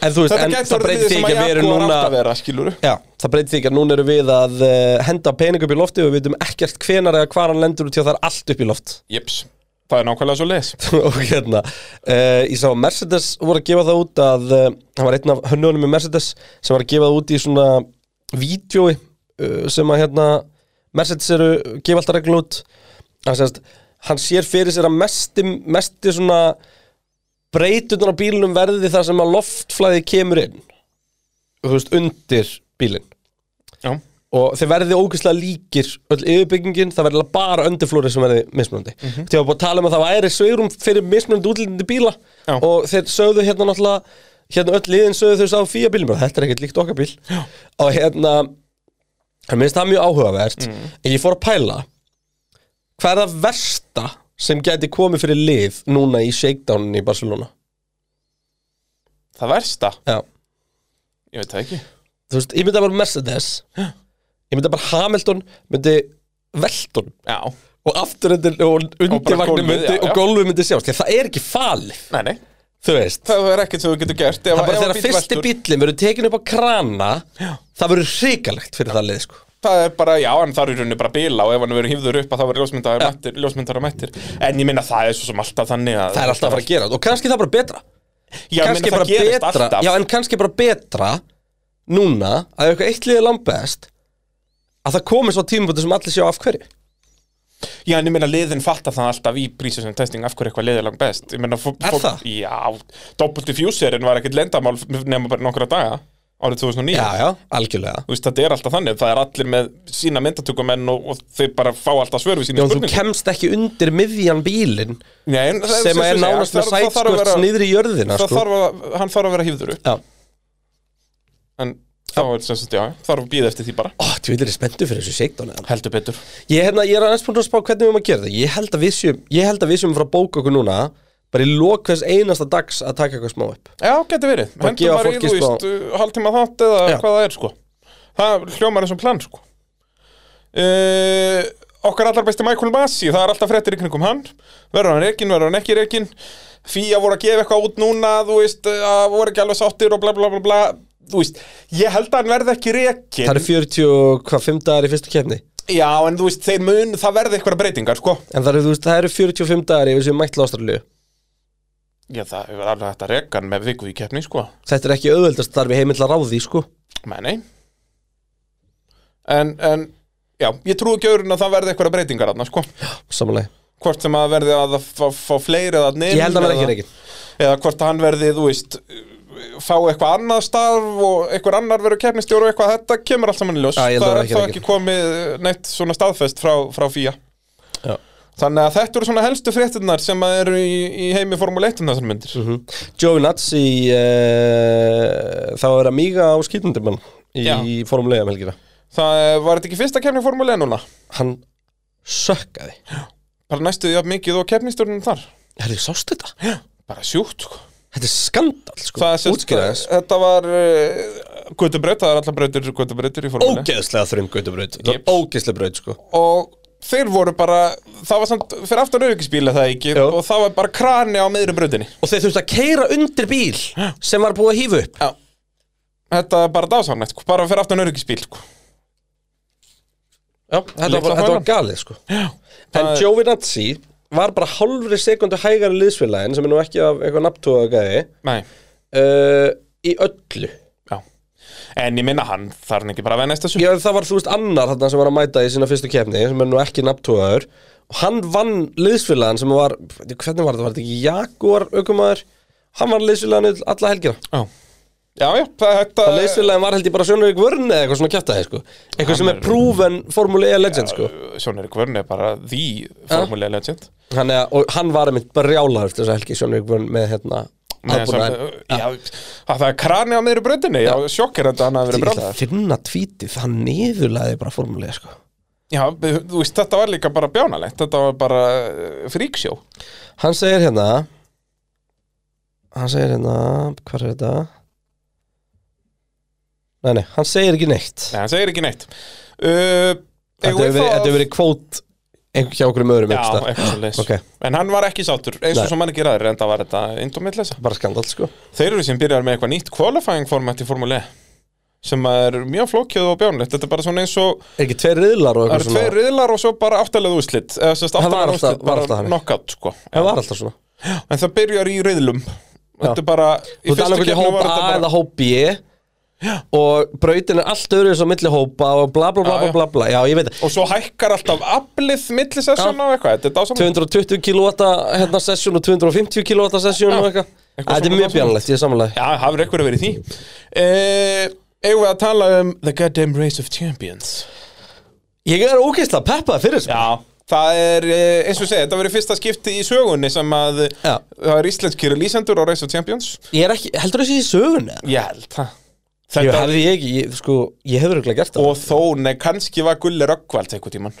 En þú veist, þetta en getur það verið breytir liðið því sem ekki að við erum Jaguar átt að núna vera, skilur Já, það breytir því ekki að núna erum við að uh, henda pening upp í lofti og við veitum ekkert hvenar eða hvar hann lendur út hjá það er allt upp í loft Jeps, það er nákvæmlega svo les og hérna uh, ég sá að Mercedes voru að gefa það út að uh, hann var einn af hönnunum í Mercedes sem var að gefa það út í svona vídjói uh, sem að hérna Mercedes eru gefa alltaf reglum út hann, sérst, hann sér fyrir sér að mesti, mesti svona breytunar á bílunum verði þar sem að loftflæði kemur inn þú veist, undir bílinn Já, og þeir verði ógeðslega líkir öll yfirbyggingin, það verði bara öndurflóri sem verði mismunandi. Mm -hmm. Þegar bara að tala um að það væri sveirum fyrir mismunandi útlítandi bíla Já. og þeir sögðu hérna náttúrulega hérna öll liðin sögðu þau sá fíja bílum bara, þetta er ekkert líkt okkar bíl Já. og hérna, mér finnst það mjög áhugavert en ég fór að pæla hvað er það versta sem gæti komið fyrir lið núna í shakedownin í Barcelona? það versta, Já. ég veit það ekki Þú veist, ég myndi bara Mercedes ég myndi bara Hamilton myndi Velton Já, og afturöndin og Og bara undirvagnir gólfið, myndi já, já. og gólfið myndi sjást því að það er ekki falið nei, nei Þú veist Það er ekkert sem þú getur gert ef, Það er bara ef þegar bíll fyrsti veltur. bíllinn verður tekin upp á krana Það verður hrikalegt fyrir það lið sko Það er bara, já, en það er í rauninni bara bíla og ef hann verður hifður upp að það verður ljósmyndar, ja. mættir, ljósmyndar mættir En ég minna það er svo sem alltaf þannig að Það er alltaf að fara að gera Og kannski það er bara betra Já, ég kannski minna bara það gerist betra alltaf Já, en kannski bara betra Núna að ef eitthvað eitt liðið langbest Að það komi svo tímabúti sem allir sjá af hverju Já, en ég meina liðin fatta það alltaf í prísusum testing af hverju eitthvað liðið langt best Ég meina, fó- Er fólk- það? Já, Double Diffuserin var ekkert lendamál nema bara nokkra daga árið 2009 Já, já, algjörlega Þú veist, þetta er alltaf þannig, það er allir með sína myndatökumenn og, og þeir bara fá alltaf svör við sína Já, en þú spurningar kemst ekki undir miðjan bílinn Nei, en það- sem það- það- er nánast það- það með þarf að sætskvörts vera- niður í jörðina það sko. þarf að, hann þarf að vera hýfður upp Já. en þá er sem sagt, já, þarf að býða eftir því bara Ó, þú vildir er spenntu fyrir þessu seikdónu heldur betur Ég, hérna, ég er aðeins búin að spá hvernig við erum að gera þetta Ég held að við séum, ég held að við séum að fara að bóka okkur núna bara í lok hvers einasta dags að taka eitthvað smá upp já, getur verið, gefa hendur bara í, fólki þú smá- veist haldtíma þátt eða Já. hvað það er, sko það hljómar eins og plan, sko uh, okkar allar besti Michael Masi, það er alltaf fréttir í kringum hann verður hann reikin, verður hann ekki reikin Fía voru að gefa eitthvað út núna þú veist, eh, að voru ekki alveg sáttir og bla bla bla bla þú veist, ég held að hann verði ekki reikin Það eru 40 og hvað, 5 dagar í fyrstu kefni já, en þú veist, þeir mun, það verði eitthvað breytingar, sko En það eru, þú veist, það eru 45 dagar yfir sem mætt lástralegu Já, það er alveg hægt að reka hann með viku í keppni, sko. Þetta er ekki auðveldast starfi heimill að ráði, sko Nei, nei. En, en, já, ég trúi ekki öðrun að það verði eitthvað breytingar þarna, sko. Samanlega Hvort sem að verði að það fá- fá fleiri að neinn. Ég held að hann verði ekki reikin Eða hvort að hann verði, þú veist, fá eitthvað annað starf og eitthvað annar verður keppnistjóru og eitthvað, þetta kemur allt saman í ljós. Já, ég held að það hann er verði þá ekki ekki komið neitt svona staðfest frá, frá fía. Þannig að þetta eru svona helstu fréttinnar sem að eru í, í heimi Formule 1 um þessar myndir. Mhm. Joey Nuts í uh, Það var að vera mýga á skýtundumann Já. Í formulega um helgina Það eh, var þetta ekki fyrsta keppni Formule 1 núna? Hann sökkaði bara næstuði jafn mikið og keppnistjórnum þar Herðu, sástu þetta? bara sjúkt sko. Þetta er skandal, sko Það er sem sagt- Útskýra þess þetta var uh, gutubraut, það er allar brautir gutubrautir í formule Ógeðslega þröng göttubraut Þetta var Jeps. Ógeðslega braut, sko og þeir voru bara það var samt fyrir aftan auðvíkisbíla það ekki Jú. og það var bara krani á meðurum brautinni Og þeir þurftu að keira undir bíl Sem var búið að hífa upp Já. þetta er bara dásamnætt sko. bara fyrir aftan auðvíkisbíl sko. Já, þetta var, Litla bara- þetta var þvælan. galið, sko Já En Það- Joey Natsi var bara hálfri sekundu hægari liðsfélagin Sem er nú ekki af eitthvað nafntúða gæði Nei. uh, Í öllu Já. en ég minna hann þarf hann ekki bara að vera næsta sum Já, það var þú veist annar þarna sem var að mæta í sína fyrstu kefni sem er nú ekki nabtúaður og hann vann liðsfélagan sem var hvernig var þetta, var þetta ekki Jaguar aukumæður hann vann liðsfélagan öll- alla helgina já, já, já það, þetta og liðsfélagan var held ég bara Sjónavík Vörn eða eitthvað svona kjæftæði sko eitthvað sem er proven Formule E legend sko Sjónir Kvörn er bara því formule legend hann er, og hann var einmitt bara rjálaður eftir þessa helgi Sjónavík Vörn með hérna Nei, aðbúnaðinn. samt- já, að það er krani á meðri brautinni já, sjokkir þetta hann að vera Ég ætla brjóðaður að finna tvítið, hann niðurlaði bara Formule E sko Já, þú veist, þetta var líka bara bjánalegt, þetta var bara eh, fríksjó. Hann segir hérna Hann segir hérna Hvað er þetta? Nei, nei, hann segir ekki neitt Nei, hann segir ekki neitt. Uh, Þetta eigum við hefur þá verið, þetta að- hefur verið kvót einhver hjá okkur um öðrum Já, einhvers staðar. eitthvað svo leys. Ok. En hann var ekki sátur, eins og Nei. svo mann ekki ræður, en það var þetta indomillesa. Bara skandal, sko Þeir eru sem byrjar með eitthvað nýtt qualifying format í Formule E, sem er mjög flókjöð og bjánlegt. Þetta er bara svona eins og, Er ekki tveir riðlar og það eitthvað eru tveir riðlar og svo bara áttalegð úslit. Eða sérst var áttalegð alltaf- úslit, var alltaf bara þannig. knockout, sko. Það var alltaf svona En það byrjar í riðlum. Þetta er bara, í Þú ert fyrstu annað hvernig keppni hóp var A þetta eða bara, hóp B Og brautin er allt öðru svo milli hópa og bla bla Já, bla bla já. bla bla Já, ég veit það og svo hækkar alltaf aflið millisessjón Já. og eitthvað, þetta er dásamlega. 220 kW hérna sesjón og 250 kW sesjón og eitthvað eitthvað Þetta er svona mjög bjánlegt, ég er samanlega Já, hafur eitthvað verið í því eh, Eigum við að tala um The Goddamn Race of Champions Ég er ógeðslega peppað fyrir þessu Já Það er, eh, eins og segja, þetta verið fyrsta skipti í sögunni sem að Já. það er íslenskir lýsendur á Race of Champions Ég er ekki, heldur þessi í sögunni? eða? Ég held það Ég Þetta, hefði ég ekki, ég, sko, ég hefur örugglega gert það og þó, nei, kannski var Gulli Röggvald eitthvað tíman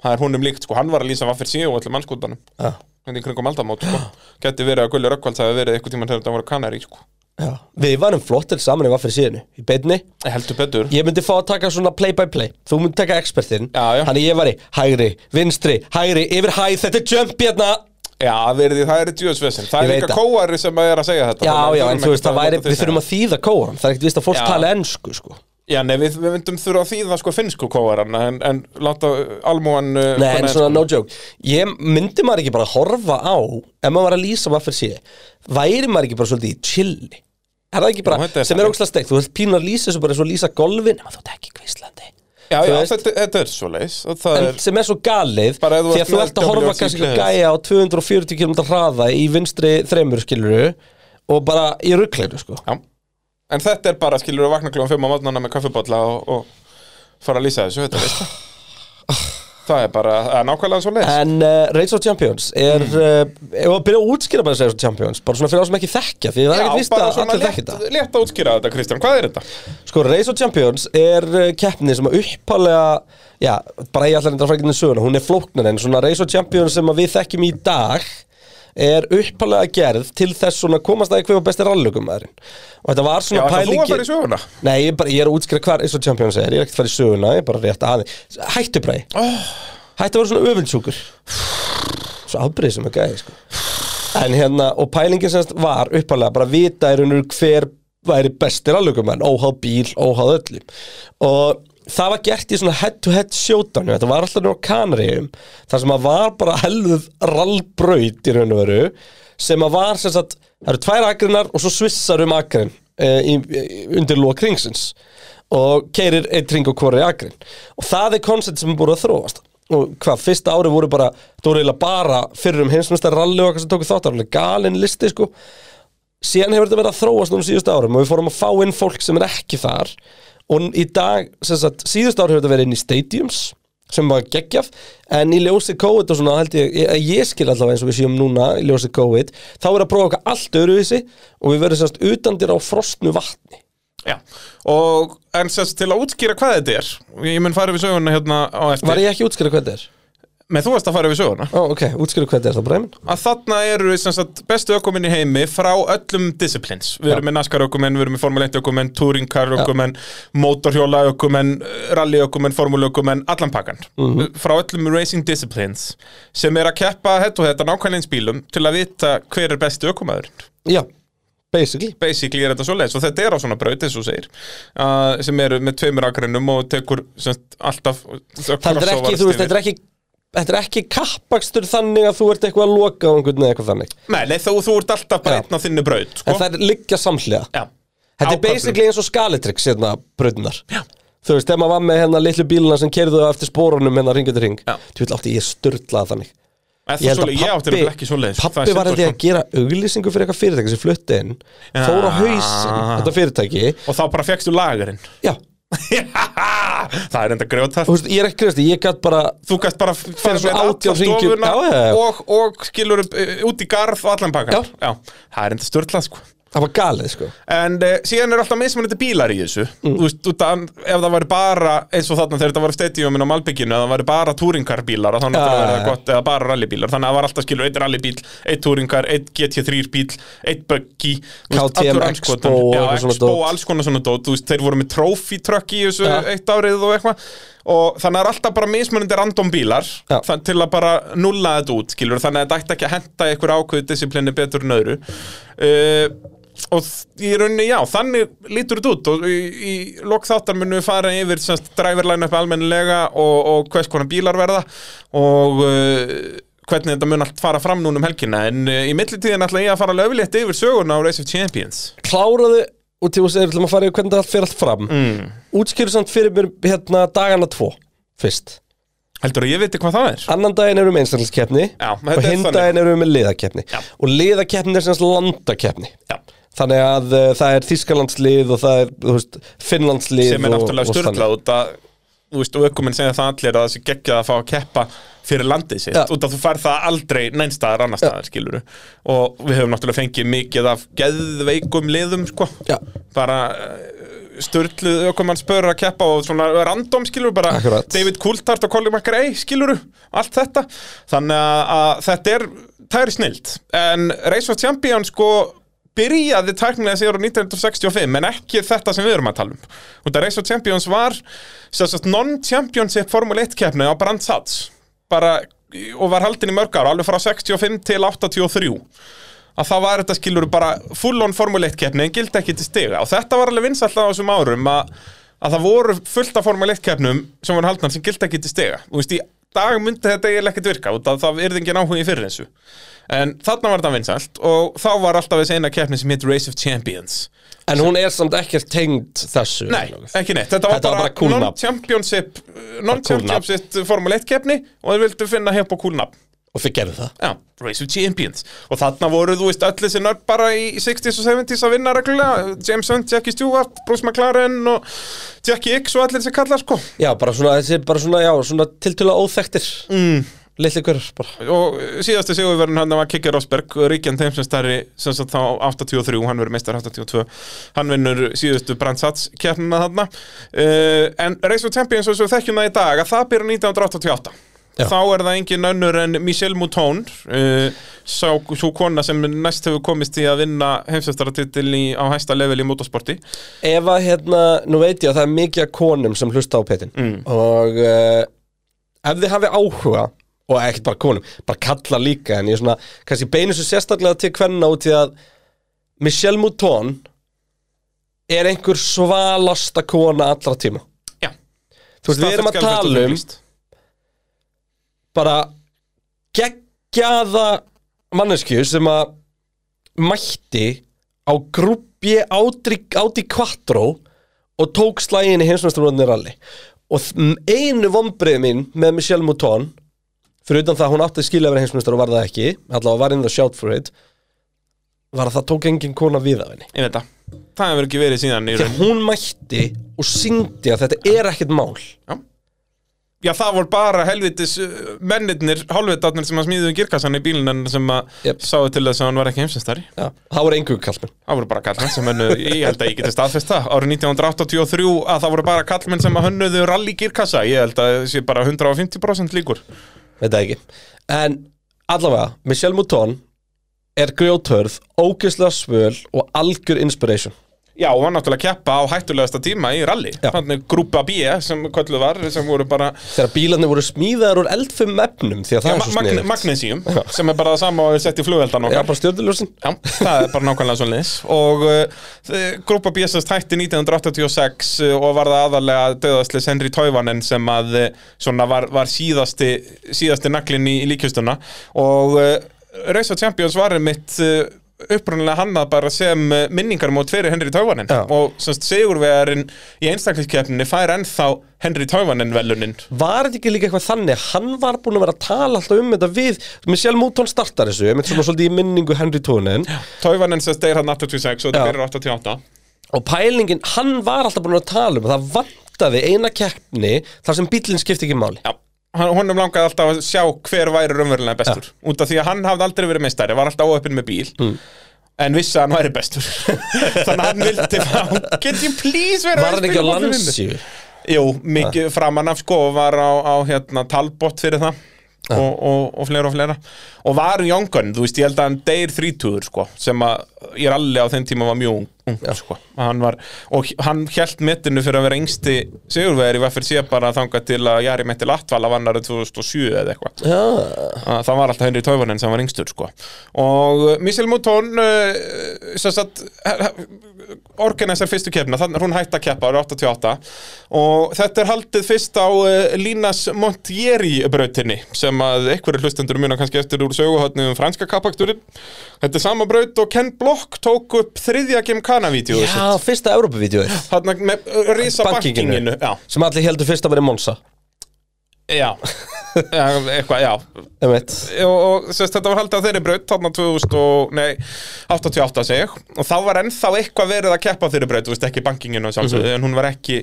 Það er honum líkt, sko, hann var að lýsa vaffir síu og allir mannskútanum Já, Þannig í kringum aldamót, sko Gæti verið að Gulli Röggvald hafi verið eitthvað tíman þegar þetta var á Kanari, sko já Við varum flottir saman í vaffir síðinu, í beinni Heldur betur Ég myndi fá að taka svona play by play Þú myndi taka expertinn Já, já. Þannig ég væri hægri, vinstri, hægri, yfir hæð Þetta er jump hérna Já, verði, það er djúðsvesen Það Ég er veit líka það. kóari sem er að segja þetta Já, þannig að já, við en þurfum þú ekki veist, það að væri, nota við þessa. þurfum að þýða kóran Það er ekkert vist að fólk Já. tala ennsku, sko Já, nei, við, við myndum þurfa að þýða sko finnsku kóaran en, en láta uh, almúan uh, Nei, en kunna svona, ensku. no joke Ég myndi maður ekki bara að horfa á Ef maður var að lýsa maður fyrir sé Væri maður ekki bara svolítið í chilli Er það ekki bara, Jú, þetta er sem er þannig. ógstlega steikt Þú veist pínu að lýsa þessu bara eins og að lýsa golfin Nema þú ert ekki kvislandi Já, þú já, veist- þetta, þetta er svo leis Það en er, sem er svo galið Bara ef þú ert því að þú með ert að horfa WRC kannski að gleðis. gæja á 240 km hraða í vinstri þremur skiluru og bara í ruggleinu sko já En þetta er bara, skilur að vakna kljóðan fimm á matnana með kaffibotla og, og fara að lýsa þessu, þetta veist það Það er bara, það er nákvæmlega svo leis en uh, Race of Champions er mm. uh, og að byrja að útskýra bara Race of Champions bara svona fyrir þá sem ekki þekkja því það er ekkert víst bara að svona allir létt, þekkja þetta létt að útskýra þetta, Kristján, hvað er þetta? sko Race of Champions er uh, keppni sem að uppalega já, bara ég ætla reyndar að fara ekki inn í söguna hún er flóknar en svona Race of Champions sem að við þekkjum í dag er uppalega gerð til þess svona komast að eitthvað besti rallugumæðurinn og þetta var Já, svona ætlar þú pælingi að fara í söguna? Nei, ég, er bara, ég er að útskýra hvað eins og Champions er, ég er ekkert að fara í söguna, ég er bara rétt aðeins Hættu bræði, hættu að vera svona öfundsjúkur Svo afbrýðið sem er gæði, sko En hérna, og pælingin semst var uppalega bara að vita er unnur hver væri bestir allugumenn, óháð bíl, óháð öllu Og það var gert í svona head-to-head showdown, þetta var alltaf nú á Kanaríum Þar sem að var bara helðuð rallbraut í raun og veru Sem að var sem sagt, það eru tvær akrinar og svo svissar um akrin eh, í, í- undir lók ringsins og keirir eitt ring og hvori akrin og það er koncept sem er búið að þróast og hvað, fyrsta ári voru bara það voru eiginlega bara fyrir um heimsmyndstar rally og hvað sem tóku þáttar, alveg galin listi sko síðan hefur þetta verið að þróast núna síðustu árum og við fórum að fá inn fólk sem er ekki þar og í dag, sem sagt, síðustu árum hefur þetta verið inn í stadiums sem var geggjaf, en í ljósi COVID og svona held ég, ég, ég skil allavega eins og við séum núna í ljósi COVID, þá er að prófa okkar allt öruvísi og við verðum sérst utandir á frostnu vatni Já, og en sérst til að útskýra hvað þetta er Ég mun fara við söguna hérna á eftir Var ég ekki að útskýra hvað þetta er? Með þú varst að fara við söguna Ó, ok, útskýra hvað þetta er þá bræmin að þarna eru sem sagt, bestu ökuminn í heimi frá öllum disciplines við erum með NASCAR ökuminn, við erum með Formule 1 ökuminn Touring Car ökuminn, Motorhjóla ökuminn Rally ökuminn, Formule ökuminn allan pakkan, Mhm. frá öllum racing disciplines sem er að keppa hett og þetta nákvæmleins bílum til að vita hver er bestu ökumæðurinn Já, basically basically er þetta svo leiðis og þetta er á svona braut eins og þú segir uh, sem eru með tveimur akrinum og tekur sem sagt, alltaf Það er ekki, þú veist, þetta er ekki Þetta er ekki kappakstur þannig að þú ert eitthvað að loka á einhvern veginn eitthvað þannig Nei, nei, þú, þú ert alltaf bara Já. einn á þinni braut sko? En það er liggja samhliða Já. Þetta Á er köflum. basically eins og skalitryggs hérna bröðnar Þú veist, þegar maður var með hérna litlu bíluna sem kerðu eftir spórunum hérna ringa til ring Já. Þú veit, átti ég störtlað þannig Ég, ég, svoleið, ég átti nefnilega ekki svoleiðis pappi var þetta að sko. gera auglýsingu fyrir eitthvað fyrirtæki sem flutti inn Ja. Fór á hausinn, þetta fyrirtæki Og þá bara fegstu lagarinn Já, Það er enda grjóta þú veist, ég er ekki kreist, ég gat bara Þú gæst bara fara svona með átján alla hringjum- stofuna Já, já, já. Og, og skilur upp, eh, út í garð og allan pakkan Já. Það er enda störtlað sko Það var galið, sko En uh, síðan er alltaf mismunandi bílar í þessu Mm. Þú veist, út að ef það væri bara eins og þarna þegar þetta var stadiumin á Malbygginu að það væri bara túringarbílar og þannig Já, að það já, væri já. það gott eða bara rallybílar þannig að það var alltaf skilur eitt rallybíl, eitt túringar eitt GT3 bíl, eitt buggy þú veist, KTM allur Expo andskotan- og Já, eitthvað svona Expo dót. og alls konar svona dót, þú veist, þeir voru með trophy truck í þessu Já. eitt árið og eitthvað og þannig að það er alltaf bara mismunandi random bílar Já. þann, til að bara nulla þetta út skilur þannig að þetta ætti ekki að henda einhver ákveðu disiplinni betur en öðru uh, og þ- í rauninni já þannig lítur þetta út og í, í lok þáttar munum við fara yfir semst driverline upp almennilega og, og hvers konar bílar verða og uh, hvernig þetta mun allt fara fram núna um helgina en uh, í millitíðin ætla ég að fara alveg öflétt yfir söguna á Race of Champions kláraðu og til þess að við ætlum að fara í hvernig það allt fer allt fram mm. útskýru samt fyrir mér hérna dagana tvo fyrst, heldur að ég viti hvað það er? annan daginn erum við einstaklingskeppni Já, þetta og er hinn þannig. daginn erum við með liðakeppni Já. og liðakeppni er semst landakeppni Já. þannig að uh, það er Þískalandslið og það er þú veist, Finnlandslið sem er náttúrulega og, og þannig. störtlað út að þú veist, og ökuminn segja það allir að það sé geggjað að fá að keppa fyrir landið sitt, Já. út að þú fær það aldrei neinstaðar annar staðar, skilur og við höfum náttúrulega fengið mikið af geðveikum liðum, sko Já. bara störtluð ökumann spörur að keppa og svona random, skilur bara Akkurat. David Coulthard og Colin McRae, skilur allt þetta, þannig að, að þetta er, það er snilt en Race of Champions, sko byrjaði tæknilega sér á 1965 en ekki þetta sem við erum að tala um og það Race of Champions var sem sagt, non-championship Formule 1 keppni á Brandsats bara og var haldin í mörg ára, alveg frá 65 til 83 að það var þetta skilur bara full on Formule 1 keppni en gildi ekki til stiga og þetta var alveg vinsælt á þessum árum að, að það voru fullt af Formule 1 keppnum sem voru haldnar sem gildi ekki til stiga þú veist, í dag myndi þetta eiginlega ekkert virka út að það yrði engin áhugi fyrir þessu en þarna var þetta vinsælt og þá var alltaf þessi eina keppni sem hitt Race of Champions En hún er samt ekkert tengd þessu Nei, ekki neitt, þetta var Þetta var bara, bara cool nafn. non-championship nafn. non-championship Formule 1 keppni og þeir vildu finna hér på kúlnafn Og þið gerðu það Já, Race of Champions og þarna voru, þú veist, öll þessi nörd bara í 60s og 70s að vinna reglulega James Hunt, Jackie Stewart, Bruce McLaren og Jackie X og allir þessi kallar sko Já, bara svona, þessi, bara svona, já, svona tiltölulega óþekktir mm. Lilli hverjar, bara og síðasti sigurverðin hann var Kiki Rosberg Ríkjan Teimsumstari sem sagt þá 83, hann verður meistar 82 hann vinnur síðustu brandsats kjarnina þarna uh, en Race of Champions og svo þekkjum það í dag að það byrja 1988 Já. þá er það engin önnur en Michelle Mouton uh, sá, svo kona sem næst hefur komist í að vinna heimsvestaratitil á hæsta level í motorsporti Ef að hérna, nú veit ég að það er mikið af konum sem hlusta á petin mm. Og uh, ef þið hafi áhuga Og ekkert bara konum, bara kalla líka En ég svona, kannski beinu svo sérstaklega til hvenna út í að Michelle Mouton er einhver svalasta kona allra tíma Já, Þú veist, við erum Staðfest að skal tala þetta um fylgist. bara geggjaða mannesku sem að mætti á grúppi Audi Quattro og tók slægin í heimsmesturvöldinni rally og þ- einu vombrið mín með Michelle Mouton fyrir utan það að hún átti skilja að vera heimsmestur og var það ekki allavega var inn það shout for it var að það tók engin kona við af henni Ég veit það, það hefur ekki verið síðan í því raun að hún mætti og syngdi að þetta er ekkert mál Já, það voru bara helvitis uh, mennirnir, hálfvitarnir sem að smíðuðu girkassan í bílinn sem að Jep. sáu til þess að hann var ekki heimsistari. Já, það voru engu kallmenn Það voru bara kallmenn sem hennu, ég held að ég geti staðfest það, árið 1983 að það voru bara kallmenn sem að hönnuðu rally girkassa, ég held að það sé bara 150% líkur. veit það ekki en allavega, Michelle Mouton er grjóthörð, ógeðslega svöl og algjör inspiration Já, og var náttúrulega að keppa á hættulegasta tíma í rally, Já. þannig grúpa B E sem kölluð var, sem voru bara þegar bílarnir voru smíðaðar úr eldfum efnum því að það ja, er svo sniðið magnesíum, sem er bara það sama og er sett í flugeldan okkar. Já, bara stjórnuljósin Já, það er bara nákvæmlega svo leis og uh, grúpa BSS hætti 1986 uh, og var það aðalega döðaslis Henry Tauvanen sem að uh, svona var, var síðasti, síðasti naglinn í, í líkjustuna og uh, Race of Champions var mitt uh, upprunalega hannað bara sem uh, minningarmót fyrir Henry Tauvanen Já. og semst sigurvegarinn í einstaklingskeppninni fær ennþá Henry Tauvanen velunin Var þetta ekki líka eitthvað þannig að hann var búin að vera að tala alltaf um þetta við Michelle Mouton startar þessu, ég mynd svona svolítið í minningu Henry Tónin Tauvanen sem stegir hann 86 og Já. þetta byrjar 88 og pælingin, hann var alltaf búin að tala um að það vantaði eina keppni þar sem bílinn skipti ekki máli Já, hann- honum langaði alltaf að sjá hver væri raunverulega bestur Út af því að hann hafði aldrei verið meistari, var alltaf óöppin með bíl En vissi að hann væri bestur Þannig að hann vildi fá Get you please vera Var hann ekki á spila móti vinnu?" landsíu? Jú, mikið framan af sko og var á, á hérna, talbott fyrir það og, og, og fleira og fleira og var Jóngan, þú veist, ég held að hann deyr þrítúður sko, sem að ég er allir á þeim tíma var mjög ung, ung sko. hann var, og hann hjælt metinu fyrir að vera yngsti sigurvegir í Veffir sé bara þangað til að Jari Metti Latvala vann árið 2007 eða eitthvað að það var alltaf Henry Tauvanen sem var yngstur sko. og uh, Michel Mouton uh, sem sagt organisar fyrstu keppna, þannig hún hætti að keppa árið 88 og þetta er haldið fyrst á uh, Línas Montieri brautinni sem að einhverju hlustendur muna kannski eftir úr söguhotni um franska kappakturinn þetta er sama braut og Ken Block tók upp þriðja Gimkana-vídeó Já, fyrsta Európa-vídeóið þarna með uh, risa Bankinginu. bankinginu já, sem allir heldur fyrst að vera Monsa já, já, eitthvað, já Einmitt. og, og sérst, þetta var haldið á þeirri braut þarna 2000 og, nei, 88 segi ég, og þá var ennþá eitthvað verið að keppa á þeirri braut, þú veist, ekki bankinginu og sjálfsögðu, en hún var ekki,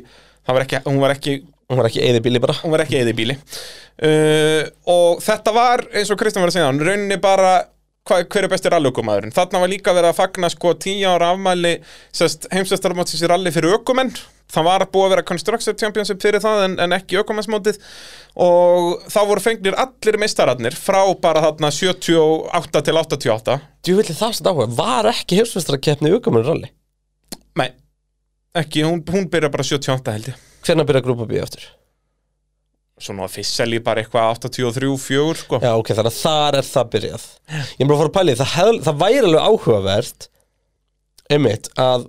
það var ekki hún var ekki, Hún var ekki eði bíli bara hún var ekki eða í bíli uh, og þetta var, eins og Kristján var að segja hann, rauninni bara hva, hver er besti rallugumadurinn, þarna var líka verið að fagna sko 10 ára afmæli sérst, heimsvestarmótsins í ralli fyrir ökumenn það var að búa að vera Constructor Championship fyrir það en, en ekki ökumennsmótið og þá voru fengnir allir meistararnir frá bara þarna 78 til 88 Þú villi það sem dáhuga, var ekki hefsmestara keppni aukumenn rally nei, ekki, hún, hún byrja bara 78 held ég Hvernig byrja grúpa B aftur? svona fisseli bara eitthvað 83, 4 sko. Já, ok, þannig að þar er það byrjað Ég er bara að fara að pæli, það, hef, það væri alveg áhugavert einmitt, að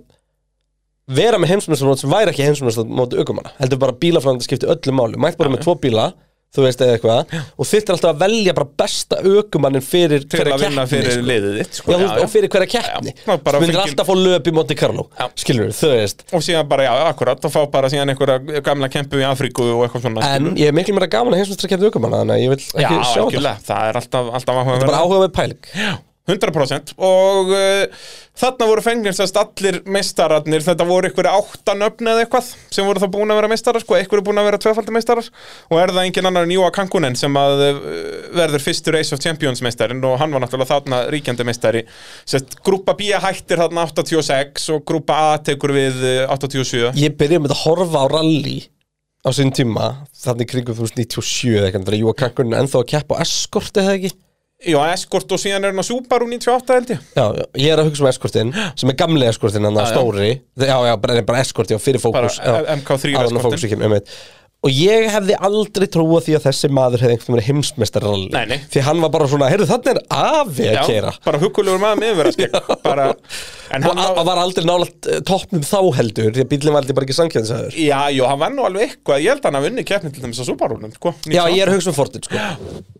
vera með heimsmyndsmót sem væri ekki heimsmyndsmót aukumanna, heldur bara bílafræðandi skipti öllu máli, mætt bara með tvo bíla þú veist eða eitthvað, og þyrftir alltaf að velja bara besta aukumannin fyrir til hverja að vinna keppni, fyrir sko. liðið þitt Já, sko. þú veist, og fyrir hverja keppni Já, maður bara sem myndir fylgir- alltaf fór löp í Monte Carlo skilur þú veist og síðan bara, já, akkurat, og fá bara síðan einhverja gamla kempu í Afríku og eitthvað svona en skilur. ég er miklu meira gaman að heimsmyndstra keppni aukumanna þannig að ég vil Mhm. ekki já, sjá það algjörlega, það er alltaf, alltaf það er áhugaverð bara áhuga með pæling 100% og uh, þarna voru fenginsast allir meistararnir, þetta voru ykkur áttan öfni eða eitthvað sem voru þá búin að vera meistarar sko, ykkur er búin að vera tvöfaldi meistarar og er það engin annar en Jóa Kankunen sem að uh, verður fyrstur Ace of Champions meistarinn og hann var náttúrulega þarna ríkjandi meistari Sett, grúpa B hættir þarna 86 og grúpa A tekur við eh, 87 ég byrjaði með að horfa á rally á sinn tíma, þannig kringum 1997 eða eitthvað, þegar Júa Kankunin ennþá að keppa á eskorti eða ekki Já, Escort og síðan er hann á Subaru 98 held ég Já, já, ég er að hugsa um eskortin sem er gamli eskortin, hann að stóri Já, já, bara, nei, bara eskorti og fyrir Bara fókus já, MK3 áður en eskortinn. Fókus ekki, einmitt. Og ég hefði aldrei trúa því að þessi maður hefði einhvern veginn heimsmeistar rally Nei, nei. Því hann var bara svona, heyrðu, þannig er afi að keira bara huggulegur maður með vera skegg bara, En Og hann a- og var aldrei nálægt eh, toppnum þá heldur Því að bíllinn var aldrei bara ekki sankjæðinsæður Já, jú, hann var nú alveg eitthvað, ég held að hann hafi unni keppni til þess að Subaru-num, sko. Já, ég er að hugsa um Fortin, sko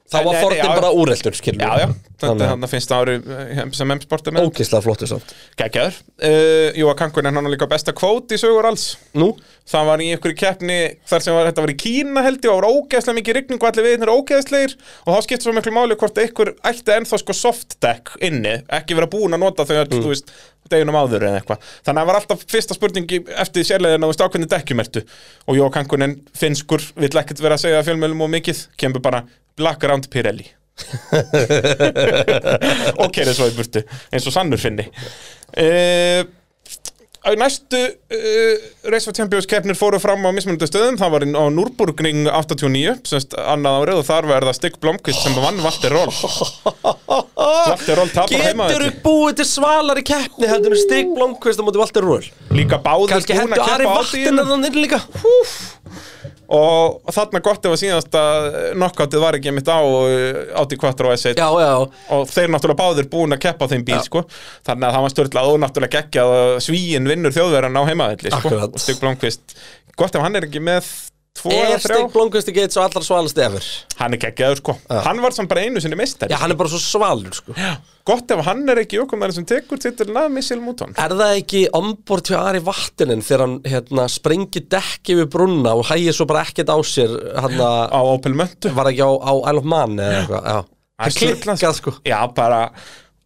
Þá Nei, var nei, Fortin já. bara úreldur, skilur Já, já, þetta Þannig er að- hann að finnst ári eh, sem M-sportum með. Ógeðslega flottur samt Gækjaður. Uh, jú, að Kankunin hann er líka besta kvót í sögur alls. Nú? Það var í einhverju keppni þar sem var, þetta var í Kína held ég og var ógeðslega mikið rigning og allir viðnir ógeðslegir og þá skiptir svo miklu máli hvort einhver ætti ennþá sko softdeck inni, ekki vera búin að nota þau öll, þú veist, deginum áður eða eitthvað. Þannig að það var alltaf fyrsta spurningi eftir sérlegin að þú veist ákveðni dekkjumertu og Jó Kankunin finnskur vill ekkert vera að segja fjölmjölum og mikið, kemur bara Black Round Pirelli og kerið svo í burtu eins og sannur finni uh, næstu uh, Race of Champions keppnir fóru fram á mismunandi stöðum, það var inn á Núrburgring 89, semst annað árið og þar var það Stig Blomqvist sem vann Valter Roll Valter Roll tapar heima Getur þú búið til svalari keppni heldur en Stig Blomqvist á móti Valter Rúl líka báður Kanski hendur Ari Vattin að hann inn líka Húf. og þarna gott ef að síðast að nokkáttið var ekki mitt á eh, átti 4 og S1 Já, já, já og þeir náttúrulega báðir búin að keppa á þeim bíl sko. þannig að það var störtlað og náttúrulega geggjað að svíin vinnur þjóðverðan á heimaðalli sko. Akkurat. og Stig Blomqvist gott ef hann er ekki með tvo eða Er þrjá Stig Blomqvist ekki eitt svo allra svalast efur hann er geggjaður sko hann var samt bara einu sinni mistari Já, hann er bara svo svalur, sko gott ef hann er ekki okkur sem tekur titilin af Missile Mouton Er það ekki ombord hjá Ari Vattinin þegar hann hérna, sprengi dekki við brunna og hægir svo bara ekkert á sér hann á Opel Möntu var ekki á, á Isle of Man eða eitthvað Já, Hann hann klikkað, sko já bara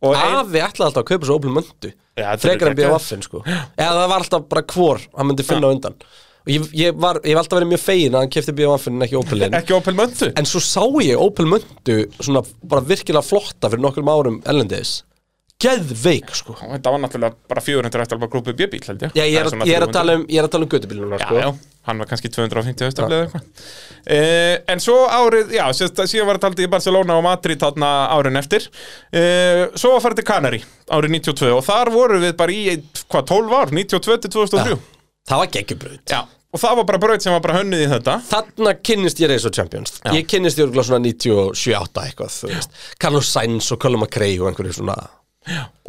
og ein, Afi ætlaði alltaf að kaupa svo óblum möndu Já, þetta Frekar er en bíða geggjað. vaffin sko Eða það var alltaf bara hvor hann myndi finna á undan Og ég, ég, var, ég var alltaf verið mjög fegin að hann kefti bíða vaffin en ekki óblin ekki Opel Möntu En svo sá ég óblum möndu svona bara virkilega flotta fyrir nokkrum árum ellendis Geðveik sko þetta var náttúrulega bara 400 eftir alveg grúpi B-bíl held ég Já, ég er, Það að- svona ég er að 300. tala um, ég er að tala um gödubíluna Já, sko já, hann var kannski 250 höstaflega eða eitthvað uh, En svo árið, já, sérst, síðan var þetta haldið í Barcelona og Madrid þarna árin eftir uh, Svo var farið til Kanari árið 92 og þar voru við bara í, hvað, 12 ár, 92 til 2003 já. Það var geggjubraut og það var bara braut sem var bara hönnuð í þetta Þarna kynnist ég Reis og Champions Ég kynnist ég örgulega svona 97-8 eitthvað þú veist. Carlos Sainz og Colin McRae og einhverju svona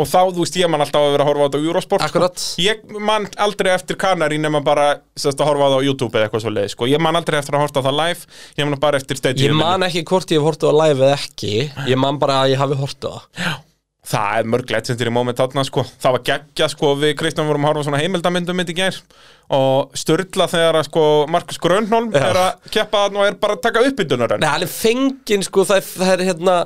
Og þá, þú veist, ég man alltaf að vera að horfa á þetta á Eurosport sko. Akkurat. Ég man aldrei eftir Kanari nema bara, sérst, að horfa á það á YouTube eða eitthvað svo leið, sko Ég man aldrei eftir að horfa á það live, ég man bara eftir Ég stadium man ekki hvort ég hef hortið á live eða ekki Ég man bara að ég hafi hortið á það Það er mörg legendary moment þarna sko Það var geggja sko við Kristján vorum að horfa á svona heimildamyndum mitt í gær og störla þegar að sko Markus Grönholm er að keppa þarna og er bara að taka uppbytunar Nei, hann er fenginn sko það er, það er hérna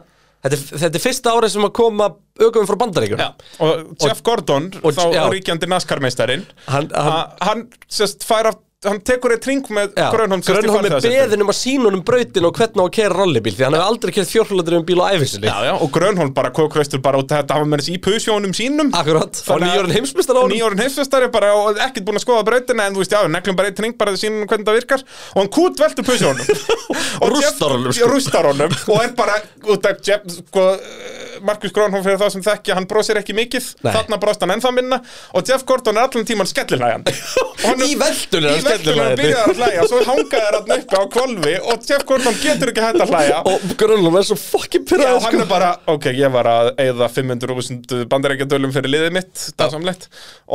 þetta, er- þetta er fyrsta árið sem að koma aukum frá bandaríkjum og Jeff Gordon og- þá já. ríkjandi naskarmeistarin Hann- hann- hann sérst fær af hann tekur eitt ring með Grönholm sérst í Grönholm er farþegasettinu. beðin um að sína honum brautin og hvernig á að kera rollibíl því hann hefur aldrei kerið fjórhjóladrifin bíl á æfisinni Já, já, og Grönholm bara kókveistur bara út að þetta hafa með þess í pusjónum sínum Akkurat, og Þannig að- nýjórn heimsmyndstara ánum nýjórun heimsveistari bara og ekkert búin að skoða brautina en þú veist, já, við neglum bara eitt ring bara að sína hvernig það virkar og hann kút veltu pusjónum Rústar honum, sko. sko. rústar honum og er bara út af Jeff, sko, Markus Grónholm fyrir það sem þekki, hann brosir ekki mikið Nei. þarna brost hann ennþá minna og Jeff Gordon er allan tíman skellinægjandi Í veltunni er hann í veltunni skellinhlæjandi. hann byrjar að hlæja svo hangaði hann uppi á kvolfi og Jeff Gordon getur ekki hætt að hlæja Og Grönlum er svo fucking Já, sko. pyrraði hann er bara, ok, ég var að eigða 500.000 bandarækjadölum fyrir liðið mitt dásamlegt,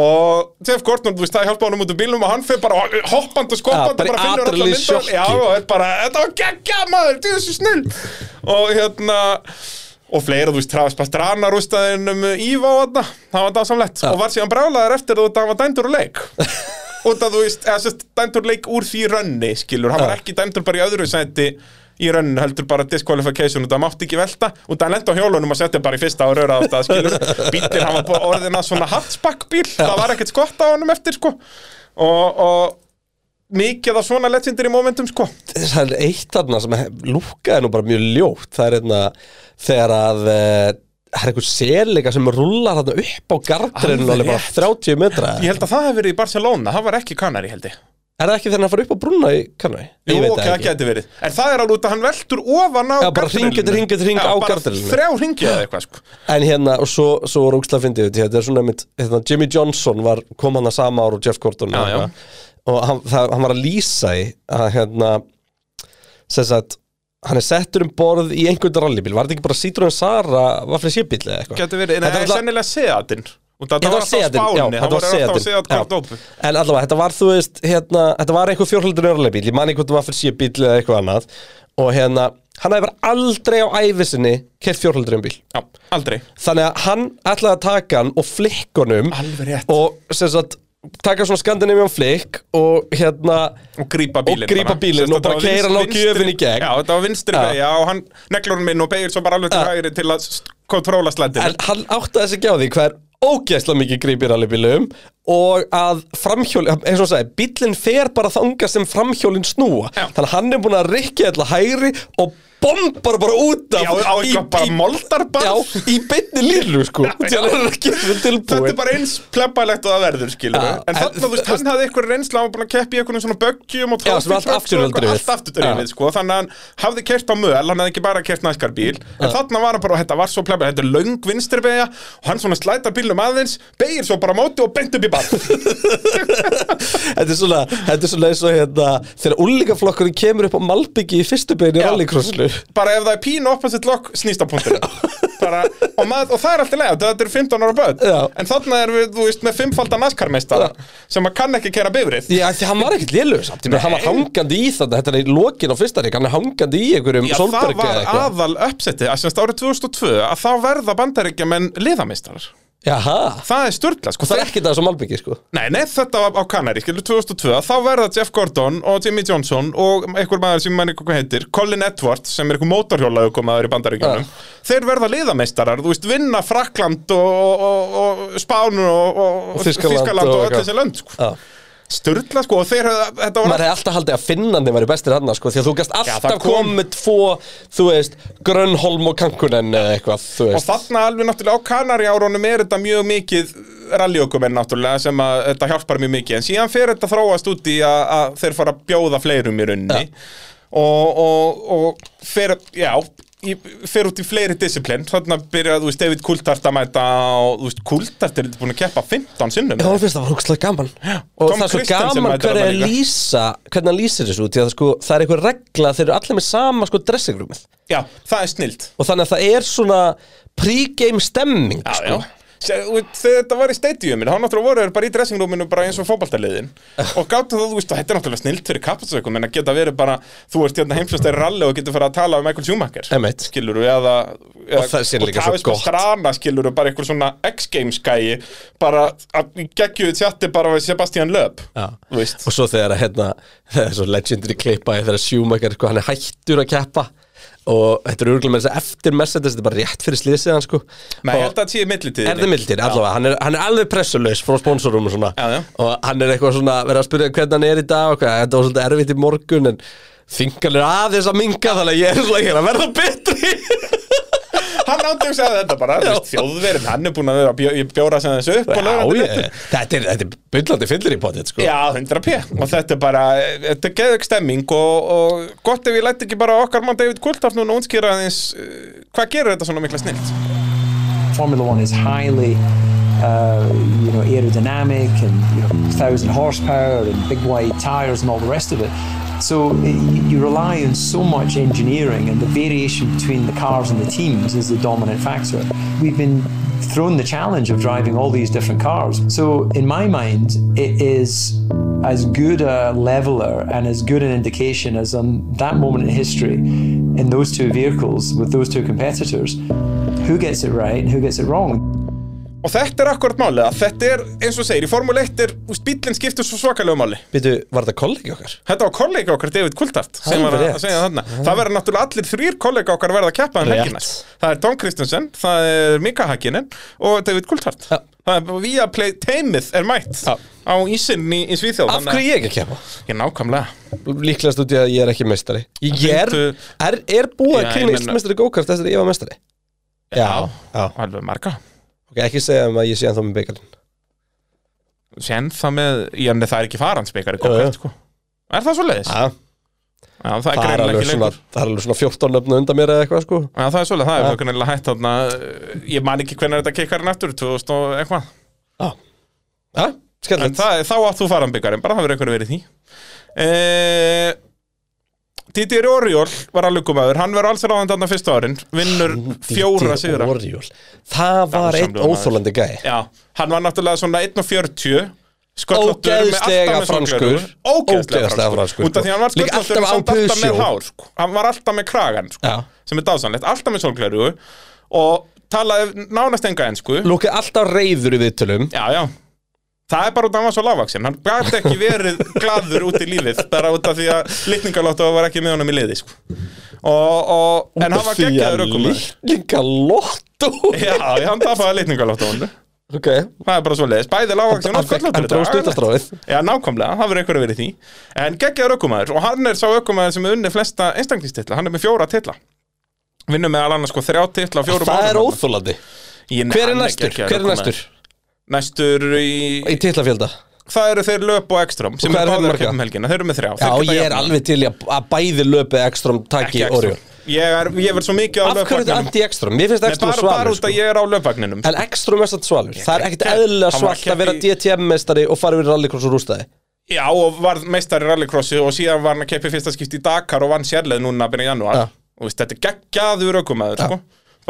og Jeff Gordon, þú veist, það hjálpa honum út úr bílnum og hann fyrir bara hoppand og skoppand Já, bara og í sko, bara finnur alltaf adrenalínsjokki. já, og er bara, þetta var geggja maður, þú þessu snill og hérna og fleira, þú veist, Travis Pastrana rústaðinum Íva og þarna, það var dásamlegt og var síðan brálaðar eftir þú þetta hann var dæmdur úr leik út að þú veist, eða sérst dæmdur leik úr því rönni, skilur, hann var ekki dæmdur bara í öðru sæti í rönn heldur bara disqualification og það mátti ekki velta og það lendi á hjólunum að setja bara í fyrsta ára öra átt að skilur, bíllinn hann var bara orðin að svona hatsbakkbíl, það var ekkert skott á honum eftir sko og, og mikið af svona legendir í momentum sko Það er eitt þarna sem hef- lúkkaði nú bara mjög ljótt Það er einna þegar að eh, Það er einhver sérleika sem rullar þarna upp á gardrinu Alveg Alveg bara 30 metra ég held að það hef verið í Barcelona, það var ekki Kanari held ég Er það ekki þegar hann fara upp á brúna í kannu? Jú, ok, það geti verið En það er alveg út að hann veltur ofan á Já, bara gardínunum. hring eftir hring eftir hring Já, á bara gardínunum. Þrjá hringi eða eitthvað sko En hérna, og svo, svo róksla fyndið þetta, þetta er svona einmitt, hérna, Jimmy Johnson var, kom hann að sama ár og Jeff Gordon Já, já. hérna. og hann, það, hann var að lýsa í að hérna sem sagt, hann er settur um borð í einhvern rallybíl, var þetta ekki bara Citroen Sara vaflið sébíl eða eitthvað? Gæti verið, en Þetta það var er það- sennilega Seatin Og það Þetta var var alltaf á Seatinn, já, spáni, þetta það var var alltaf Seatinn, Seat já. kvart opið En allavega, þetta var, þú veist, hérna, þetta var einhver fjórhaldur rallybíl, ég man ekki hvort það var fyrir sébíl eða eitthvað annað og hérna, hann hefur aldrei á æfisinni kert fjórhaldur um bíl. Já, aldrei Þannig að hann ætlaði að taka hann og flikk honum Alveg rétt. Og sem sagt, taka svona Scandinavian flikk og hérna Og grípa bílinn Og grípa bara. Sérst, bílinn og bara þetta var keyra hann á vinstri- gjöfin í gegn. Já, þetta var vinstri Já. vegi, já, og hann neglur hann inn og beigir svo bara alveg til Já. hægri til að st- kontróla En slændinu hann áttaði sig ekki á því hvað er ógeðslega mikið gríp í rallybílum Og að framhjóli, eins og hann sagði, bíllinn fer bara þanga sem framhjólinn snúa Já. Þannig að hann er búin að rikki ætla hægri og bombar bara út af Já, á eitthvað bara moldarbarð. Já, í beinni línu sko, Já, til já. að hann er ekki Þetta er tilbúin bara eins plebbalegt og það verður, skilur Já, En Ah, en- þarna, þú veist, hann hafði eitthvað reynsla Hann var búin að keppa í eitthvað svona böggjum og Já, sem var allt trófítröks og afturhjóldrifið. eitthvað, Allt afturdrifið, sko Þannig að hann hafði kert á möl, hann hafði ekki bara kert næskar bíl En þarna var hann bara, og þetta var svo plebba Þetta er löng vinstri vega Og hann svona slætar bílum aðeins Beigir svo bara á móti og beint upp í barð Þetta er svona, þetta er svona eins og hérna Þegar úlíkaflokkurinn kemur upp á Malbyggi í fyrstu beinu í Já. rallycrossinu bara ef það er pínu opposite lock snýst á punktinu bara, og, maður, og það er alltaf leið þetta er 15 ára börn Já. en þarna erum við, þú veist, með 5-falda naskarmeistara sem að kann ekki kera bifrið Já, því hann var ekkert lélugur samt Ég meina, hann var hangandi í þetta, þetta er í lokin á fyrsta rík Hann er hangandi í einhverjum Já, það solberg var eða eitthvað aðal uppsetti að semst árið 2002 að þá verða bandaríkja menn liðameistarar Jaha, það er sturgla, sko það er ekkert að þessu Malbyggi sko Nei, nei, þetta var á Kanari, skilur, 2002 þá verða Jeff Gordon og Jimmy Johnson og einhver maður sem mann eitthvað heitir Colin Edwards, sem er einhver mótorhjólaðu komaður í bandaríkjunum, Ah. þeir verða liðameistarar þú veist, vinna Frakland og, og, og Spánu og, og, Og Þýskaland og, og öll eitthvað. þessi lönd sko. Já. Sturla, sko, og þeir höfðu- þetta var Maður hefði alltaf haldið að finnandi væri bestir hann sko, Því að þú gast alltaf það kom- komið tvo Þú veist, Grönholm og Kankunen eða eitthvað Þú Og veist þarna alveg náttúrulega á Kanariárunum er þetta mjög mikið rallyökumenn náttúrulega sem að þetta hjálpar mjög mikið en síðan fer þetta þróast út í að, að þeir fara að bjóða fleirum í runni og, og, og fer, já, í, fer út í fleiri disiplin þarna byrja, þú veist, David Kultart að mæta og þú veist, Kultart er búin að keppa 15 sinnum Já, mér finnst það var húkslega gaman Og Tom það er svo Christensen gaman mætir hvernig þarna að líka. lýsa Hvernig hann lýsir þessu út Því að sko, það er einhver regla að Þeir eru allir með sama sko, dressingrúmið Já, það er snilt Og þannig að það er svona Pre-game stemming Já, sko. já. Sjá, þú veist, Þegar þetta var í stadiuminu, þá náttúrulega voru þeir bara í dressingrúminu bara eins og fótbaltarliðin og gáttu það, þú veist, og þetta er náttúrulega snilt fyrir kapasökum en að geta verið bara, þú ert hérna heimsfjöstæri ralli og getur farið að tala um Michael Schumacher Einmitt. skilur við, eða, eða Og það er síðan líka svo Travis gott. Pastrana, skilur við, bara einhver svona X-Games gæi, bara að geggjuðu tjatti bara við Sebastian Loeb Já. þú veist, Og svo þegar að hérna Það er svo legendary klippa Þegar Schumacher, sko, hann er hættur að keppa Og þetta er örgulega með þess að eftir Mercedes Þetta er bara rétt fyrir slýsið hann sko menn ég Og- held að það sé í millitíðinni Er það mildir, allavega, hann er, hann er alveg pressulaus frá sponsorum og svona Já, já. og hann er eitthvað svona, verið að spyrja hvernig hann er í dag og hvað, þetta var svolítið erfitt í morgun en þingal er aðeins að minga þannig að ég er svona, ég er að verða betri hann ándum segja þetta bara, þú veist, þjóðverðin hann er búin að vera að bjó- bjóra sem þessu upp og Já, laugardaginn ég, þetta er, þetta er byllandi fyllir í potið, sko Já, 100p og þetta er bara, þetta er geðug stemming og, og eh, gott ef ég lætt ekki bara okkar mann David Kultaf núna útskýra aðeins uh, hvað gerir þetta svona mikla snilt Formula One is highly, uh, you know, aerodynamic and you know, thousand horsepower and big wide tires and all the rest of it. So y- you rely on so much engineering, and the variation between the cars and the teams is the dominant factor. We've been thrown the challenge of driving all these different cars. So in my mind, it is as good a leveler and as good an indication as on that moment in history in those two vehicles with those two competitors who gets it right and who gets it wrong Og þetta er akkurat máli að þetta er, eins og segir, í Formule 1 er, úst, bíllinn skiptur svo svakalegu máli. Býtu, var þetta kollegi okkar? Þetta var kollega okkar David Kultart sem Alveg var að rétt. segja þarna. Það verður náttúrulega allir þrýr kollega okkar að verða að keppa um Rétt. helgina. Það er Tom Kristensen, það er Mika Hakkinen og David Kultart. Já. Það er via play teimið er mætt Já. á ísinn í, í Svíþjóð. Af hverju ég ekki að kemja? Ég nákvæmlega. Líklegast út í að ég er ekki meistari Ég er, Finndu- er, er Já, búið að ég kynna meina- meistari gókart þess að ég var meistari Já, já. Alveg marga. Ok, ekki segja um að ég sé ennþá með byggalinn Sén það með, ég enni það er ekki faransbyggar í Jú, kokart, sko. Er það svo leiðis? Já, það er Það er greinlega alveg ekki svona, lengur. það er alveg svona 14 löfna undan mér eða eitthvað sko Já, það er svolítið, það er Já. ja. greinlega hægt þarna, eh, ég man ekki hvernig þetta kikkar en aftur, 2000 og eitthvað. Já, já, En skemmtilegt það, þá átt þú farambyggarinn, bara það verður einhverju verið í því eh, Títir Orjól var að lukumæður Hann verður alls ráðan þarna fyrsta árin Vinnur fjóra Dídí sigra Orjól. Það var einn Dásamlegur maður. óþólandi gæi Já, hann var náttúrulega svona 1.40 Sköllóttur með alltaf Ógeðslega með sólgleraugu. franskur. Ógeðslega Ógeðslega franskur, franskur Út af því hann var sko. Líka sköllóttur alltaf á samt alltaf með pusjó. hár sko. Hann var alltaf með kragan sko, Já. Sem er dásanlegt, alltaf með solgleru Og talaði nánast enga ensku Lúkið alltaf reyður í viðtölum Já, já Það er bara út af að hann var svo lágvaxinn Hann gæti ekki verið gladur út í lífið bara út af því að litningalóttu var ekki með honum í liði sko. og, og, En hann var geggjaður aukumæður Líka lotto Já, já, hann tapaði litningalóttu honum Ok, Það er bara svo leiðis, bæði lágvaxinn og sköllóttur hann þetta dróð er alveg- stutastráfið Já, nákvæmlega, það verður einhverju verið í því En geggjaður aukumæður og hann er sá aukumæður sem er unni flesta einstaklingstitla Hann er með fjóra titla Vinnum með alveg sko þrjá titla á fjórum Það er árum. óþólandi Ég- Hver er hann næstur? geggjaður Hver er ökumaður. næstur? Næstur í Í titlafjölda það eru þeir löp og ekstrám sem hvað er eru þeir báðir að marga? kemja um helgina, þeir eru með þrjá Já, Þeir geta ég er jafnað. alveg til í að að bæði löpið ekstrám ekki taki Orjól ekstrám ég, er, ég verð svo mikið á Af hverju er þetta löpvagninum anti-ekstrám? Mér finnst Nei, ekstrám bara, bara svalur út sko. að ég er á löpvagninum En ekstrám er satt svalur Það er ekkert Hann var eðlilega að svalt keppa að vera í- DTM-mestari og fara yfir rallycross og rústaði já, og var meistari rallycrossi og síðan var hann að keppi fyrsta skipti í Dakar og vann sérleð núna að byrja í janúar Já. og veist, þetta er geggjaður aukumæður sko.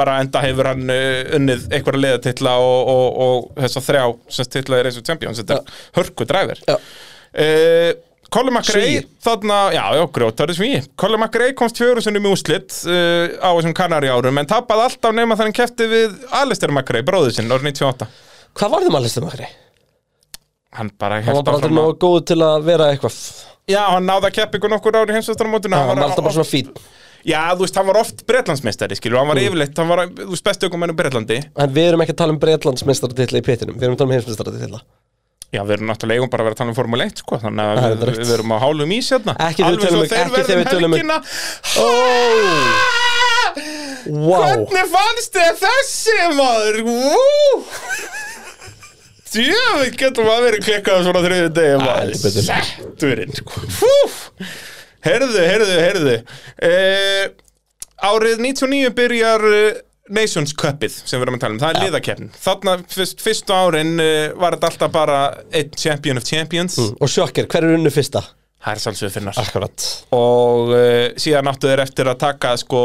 bara enda hefur hann uh, unnið einhverja leiðatitla og, og, og þess að þrjá sem titlaði Race of Champions þetta er hörku dræfir Já. Eh, Colin McRae Svíi. þarna, já, já, grjótari sví Colin McRae komst fjóru sinni með úslit uh, á þessum kanari árum en tapaði alltaf nema þannig kefti við Alistair McRae, bróður sinn, árið 98 Hvað var þeim að listum akkari? hann bara Hann var hélt bara aldrei áfram að- nógu góð til að vera eitthvað já, hann náði að keppa ykkur nokkur ári heimsvöldunarmótinu Hann var alltaf bara svona fín já, þú veist, hann var oft bretlandsmeistari, skilur hann var Mm. yfirleitt, hann var, þú veist, bestu ykkur menn um Bretlandi En við erum ekki að tala um Breitlandsmeistaratitla í pittinum Við erum að tala um heimsmeistaratitla já, við erum náttúrulega eigum bara að vera að tala um Formule 1 sko, þannig Það að er við, rétt. við erum á hálum ís hérna Ekki þegar við alveg svo tölum- um- þeir ekki þegar verðum við tölum- helgina Wow Hvernig fannst þið þessi maður? Vú! Djöfið getur maður verið klikkað svona þriðju degi heldur betur. maður Setturinn sko. Fúf! Herðu, herðu, herðu eh, Árið 99 byrjar eh, Nations Cupið sem við erum að tala um, það er liðakeppn Þarna fyrst, fyrstu árin eh, var þetta alltaf bara einn champion of champions Og sjokker, hver er unnu fyrsta? Það er sálsöðu finnar Akkurat og uh, síðan áttu þeir eftir að taka sko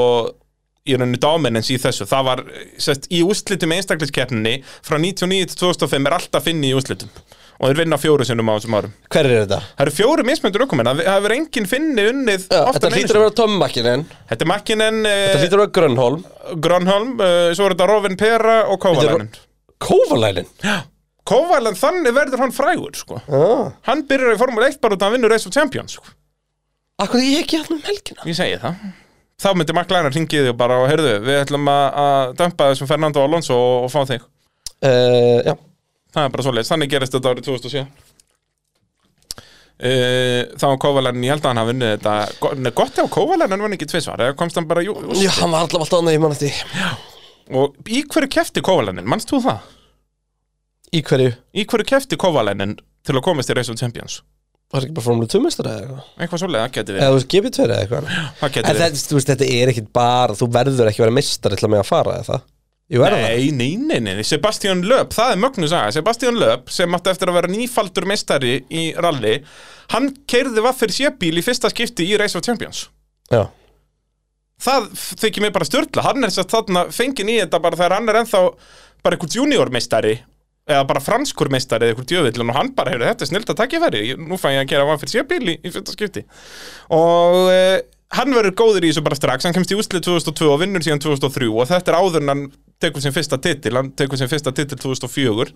í rauninni dominance í þessu það var, sest, í úrslitum einstakliskeppninni frá 99 til 2005 er alltaf finni í úrslitum og þeir vinna fjóru sinnum á þessum árum Hver er þetta? það eru fjóru mismöndur okkumenn, það hefur enginn finni unnið Já, oftar Þetta en einu hlýtur að sinni. vera Tom Makkinen þetta er Makkinen, Þetta uh, hlýtur að vera Grönholm Grönholm uh, svo er þetta Rovin Pera og Kovalainen Kovalænin Kovalainen, þannig verður hann frægur sko. hann byrjar í Formule 1 bara út að hann vinnur Race of Champions sko. Akkur ég ekki hann um helgina Ég segi það Þá myndi Mark Lænar ringið og bara og heyrðu, við ætlum að, að dömpa þessum Fernando Alonso og, og fá þig uh, Já Það er bara svoleiðis, þannig gerist þetta árið 2007 uh, Þá var Kovalenn, ég held að hann hafi unnið þetta Go- Nei, gott ef Kovalenn en var ekki tvisvar eða komst hann bara jú, jú, Já, hann var alltaf alltaf annað, ég man eftir og í hverju kefti Kovalennin, mannst þú það? Í hverju? Í hverju kefti Kovalennin til að komast í Race of Champions? Var ekki bara Formule 2 mestur eða eitthvað? Eitthvað svoleið, það geti Eða við, þú veist, GP2 eða eitthvað? það En geti við. þetta, þú veist, þetta er ekkit bara, þú verður ekki að vera mistari til að með að fara eða það Jú, er hann það? Nei, nei, nei, nei, nei, Sebastian Löp, það er mögnu saga Sebastian Löp, sem átti eftir að vera nýfaldur mestari í rally Hann keirði vaffir sébíl í fyrsta skipti í Race of Champions Já, það þykir mér bara störtla hann er satt þarna fengin í þetta bara þegar hann er ennþá bara einhvern juniormeistari eða bara franskur meistari eða einhvern djöfullin og hann bara hefur þetta er snillt að takja færi nú fæ ég að gera vann fyrir sébíl í, í fyrsta skipti og eh, hann verður góður í þessu bara strax hann kemst í úslið 2002 og vinnur síðan 2003 og þetta er áður en hann tekur sem fyrsta titil hann tekur sem fyrsta titil 2004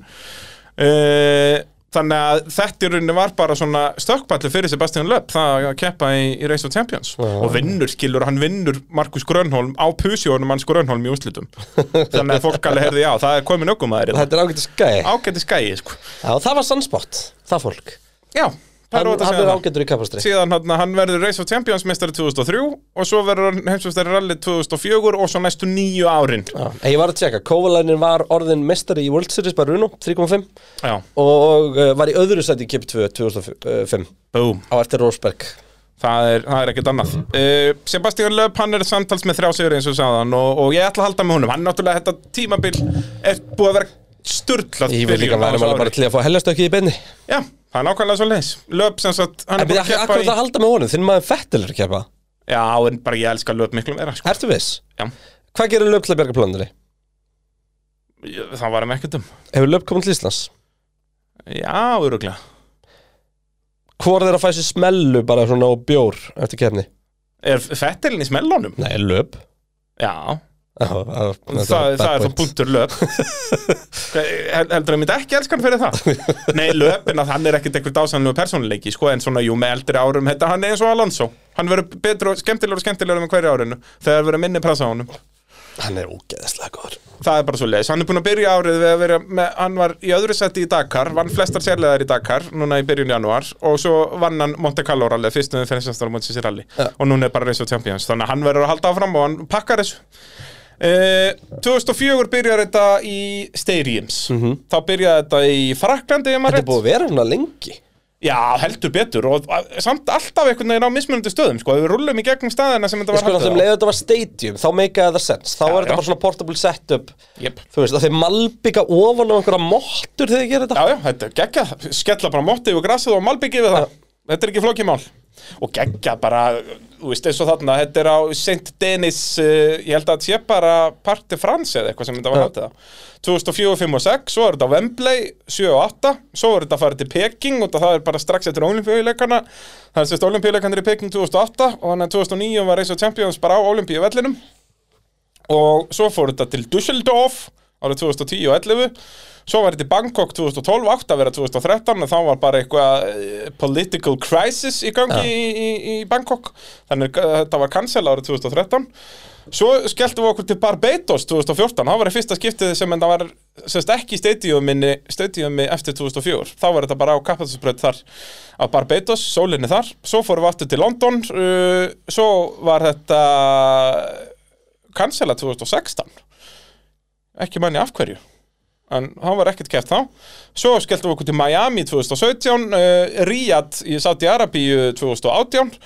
Eh, Þannig að þetta í rauninni var bara svona stökkballi fyrir Sebastian Löpp það að keppa í, í Race of Champions og vinnur skilur, hann vinnur Markus Grönholm á pusjónum hans Grönholm í úslitum þannig að fólk alveg herði já, það er komin ökumæður þetta er ágætt skæði ágæti skæi, sko Já, það var sannspott, það fólk Já, það er Hann, ótt að hann segja er það ágættur í kapastri Síðan hann, hann verður Race of Champions mestari 2003 og svo verður hann heimsumstari rally 2004 og svo næstu nýju árin Já, en ég var að tjekka, Kovalainen var orðin mestari í World Series bara Runo, 3.5 Já, og uh, var í öðru sæti í Kip 2 2005 búm á eftir Rósberg Það er, það er ekkert annað uh, Sebastian Löp, hann er samtals með þrjá sigur eins og sagðan og, og ég ætla að halda með honum Hann náttúrulega þetta tímabil er búið að vera sturlað Ég vil líka byrjun á væri þessu maður bara ári. til að fá hellastökki í beinni Já, það er nákvæmlega svo leis Löp sem sagt, En hann er við búin að akkur það keppa í halda með honum, þinn maður fettil er að keppa Já, en bara ég elska Löp miklu meira sko. Ertu viss? Já. Hvað gerir löp til að berga plöndinni? Ég- Það var hann ekkert um Hefur löp komið til Íslands? Já, öruglega Hvor þeirra fæ sér smellu bara svona og bjór eftir kefni? Er fettilin í smellónum? Nei, löp Já, Það, það, það, það, er þá punktur löp Hel- heldur að ég myndi ekki elska hann fyrir það nei, löpin að hann er ekkit eitthvað dásanlegu persónuleiki sko, en svona, jú, með eldri árum þetta, hann er eins og Alonso, hann verður betur og skemmtilegur og skemmtilegur með hverju árinu þegar verður minni pressa á honum Hann er ógeðslega góður það er bara svo leiðis, hann er búin að byrja árið við að vera með, hann var í öðru seti í Dakar vann flestar sérlegar í Dakar, núna í byrjun janúar og svo vann hann Monte Carlo rally fyrstu með fennisastar á Monte Sissi rally og núna er bara Race of Champions, þannig að hann verður að halda áfram og hann pakkar þessu Eh, 2004 byrjar þetta í Stadiums þá byrjaði þetta í Fraklandi Mhm. Þetta er búið að vera svona lengi Já, heldur betur og eh, samt alltaf einhvern veginn á mismunandi stöðum sko, ef við rullum í gegnum staðina sem þetta Ég var sko náttúrulega um haldið á. leið að þetta var stadium, þá meikaði það sense Þá er já. þetta bara svona portable setup Jep. Þú veist, að þeir malbygga ofan á einhverja mottur þegar þeir gera þetta Já, já, þetta er geggja, skella bara móttið og grassið og malbyggið við það Þetta er ekki flókimál Og geggja bara, þú veist eins og þarna, þetta er á St. Denis, uh, ég held að þetta sé bara Parte France eða eitthvað sem þetta var haldið á 2004, 5 og 6, svo er þetta á Wembley 7 og 8, svo er þetta að fara til Peking og það er bara strax eftir olimpíuleikana Það er sérst olimpíuleikanir í Peking 2008 og þannig að 2009 var Reis og Champions bara á olimpíuvellinum og svo fór þetta til Düsseldorf árið 2010 og 11 svo var þetta í Bangkok 2012 átt að vera 2013 en þá var bara eitthvað eh, political crisis í gangi í, í, í Bangkok þannig að þetta var cancel árið 2013 svo skelltum við okkur til Barbados 2014, þá var það fyrsta skiptið sem en það var sérst ekki í stadiuminni stadiumi eftir 2004, þá var þetta bara á kapasinsbröð þar á Barbados sólinni þar, svo fórum við aftur til London uh, svo var þetta cancela 2016 ekki manni af hverju en hann var ekkert keft þá svo skelltum við okkur til Miami 2017 uh, Riyadh í Saudi-Arabíu 2018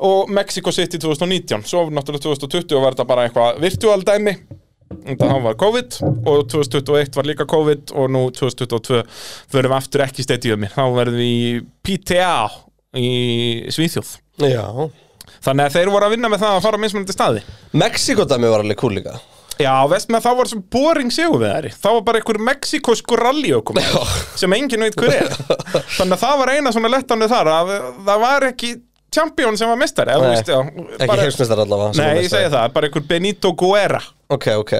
og Mexico City 2019 svo náttúrulega 2020 var þetta bara eitthvað virtual dæmi þetta hann var COVID og 2021 var líka COVID og nú 2022 förum við aftur ekki stedjum þá verðum við í PTA í Svíþjóð Já, þannig að þeir voru að vinna með það að fara á mismunandi staði Mexíkodæmi var alveg kúl líka Já, veist með það var svo boring sigur við þær Það var bara einhver mexikosku rally okkur sem enginn veit hver er Þannig að það var eina svona lettanu þar að það var ekki champion sem var mistari Nei, Ekki heimsmeistar allavega sem Nei, er ég segi meistari. það, bara einhver Benito Guerra Ok, ok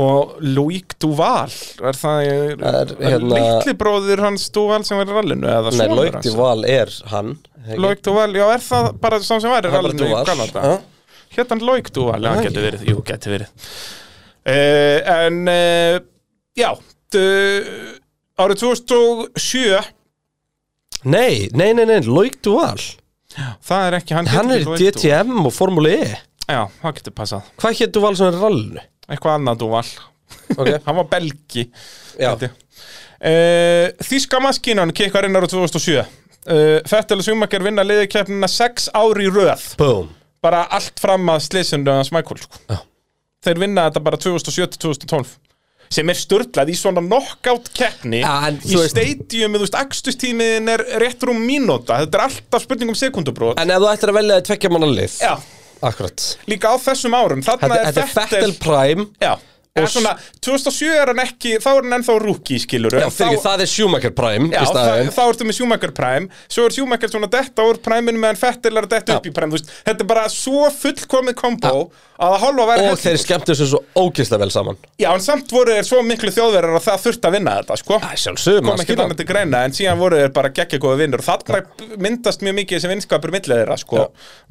og Luik Duval er það, Það er, er, hérna- litli bróðir hans Duval sem var í rallinu eða Nei, sonur Loikti hans. Val er hann ekki? Loic Duval, já, er það bara sá sem var í er bara rallinu í Duval. Kanada Já. Hétt hann Hérna Loic Duval, já, geti verið, jú, geti verið uh, En, uh, já, uh, árið 2007, Nei, nei, nei, nei, Loikti Val það er ekki, hann, hét Hann er ekki í Loic Duval. DTM og Formule E Já, það getur passað, Hvað hétu Val sem er rallinu? eitthvað annað Duval Ok. Hann var belgi Já, Uh, Þíska maskínan kikkar inn ára 2007 uh, Fettel og Schumacher vinna liðikeppnina 6 ári í röð boom bara allt fram að slisundu hans Michael sko. Já. þeir vinna þetta bara 2007-2012 sem er störtlað í svona knockout keppni Ja, en í þú veist- stadium, þú veist, akstustímiðin er rétt rúm mínúta, þetta er alltaf spurning um sekundubrót En ef þú ættir að velja þér tvekja manna lið Já, Akkurat líka á þessum árum þarna Þetta þetta er Fettel Prime Já, en s- svona 2007 er hann ekki, þá er hann ennþá rúki skilur Já, fyrir það er Schumacher Prime Já, í það, staðin þá ertu með Schumacher Prime Svo er Schumacher svona detta úr Primeinu meðan Fettel er að detta Já. upp í Prime þú veist, Þetta er bara svo fullkomið kombo að það hálfa að vera Og þeir skemmtu þessu svo ógeðslega vel saman Já, en samt voru þeir svo miklu þjóðverðar að það þurfti að vinna þetta, sko Æ, sjálfsögum, Kom maður ekki skilur þannig til greina, en síðan voru þeir bara geggja góða vinnur og þarna myndast mjög mikið þessi vinskapur millið þeirra, sko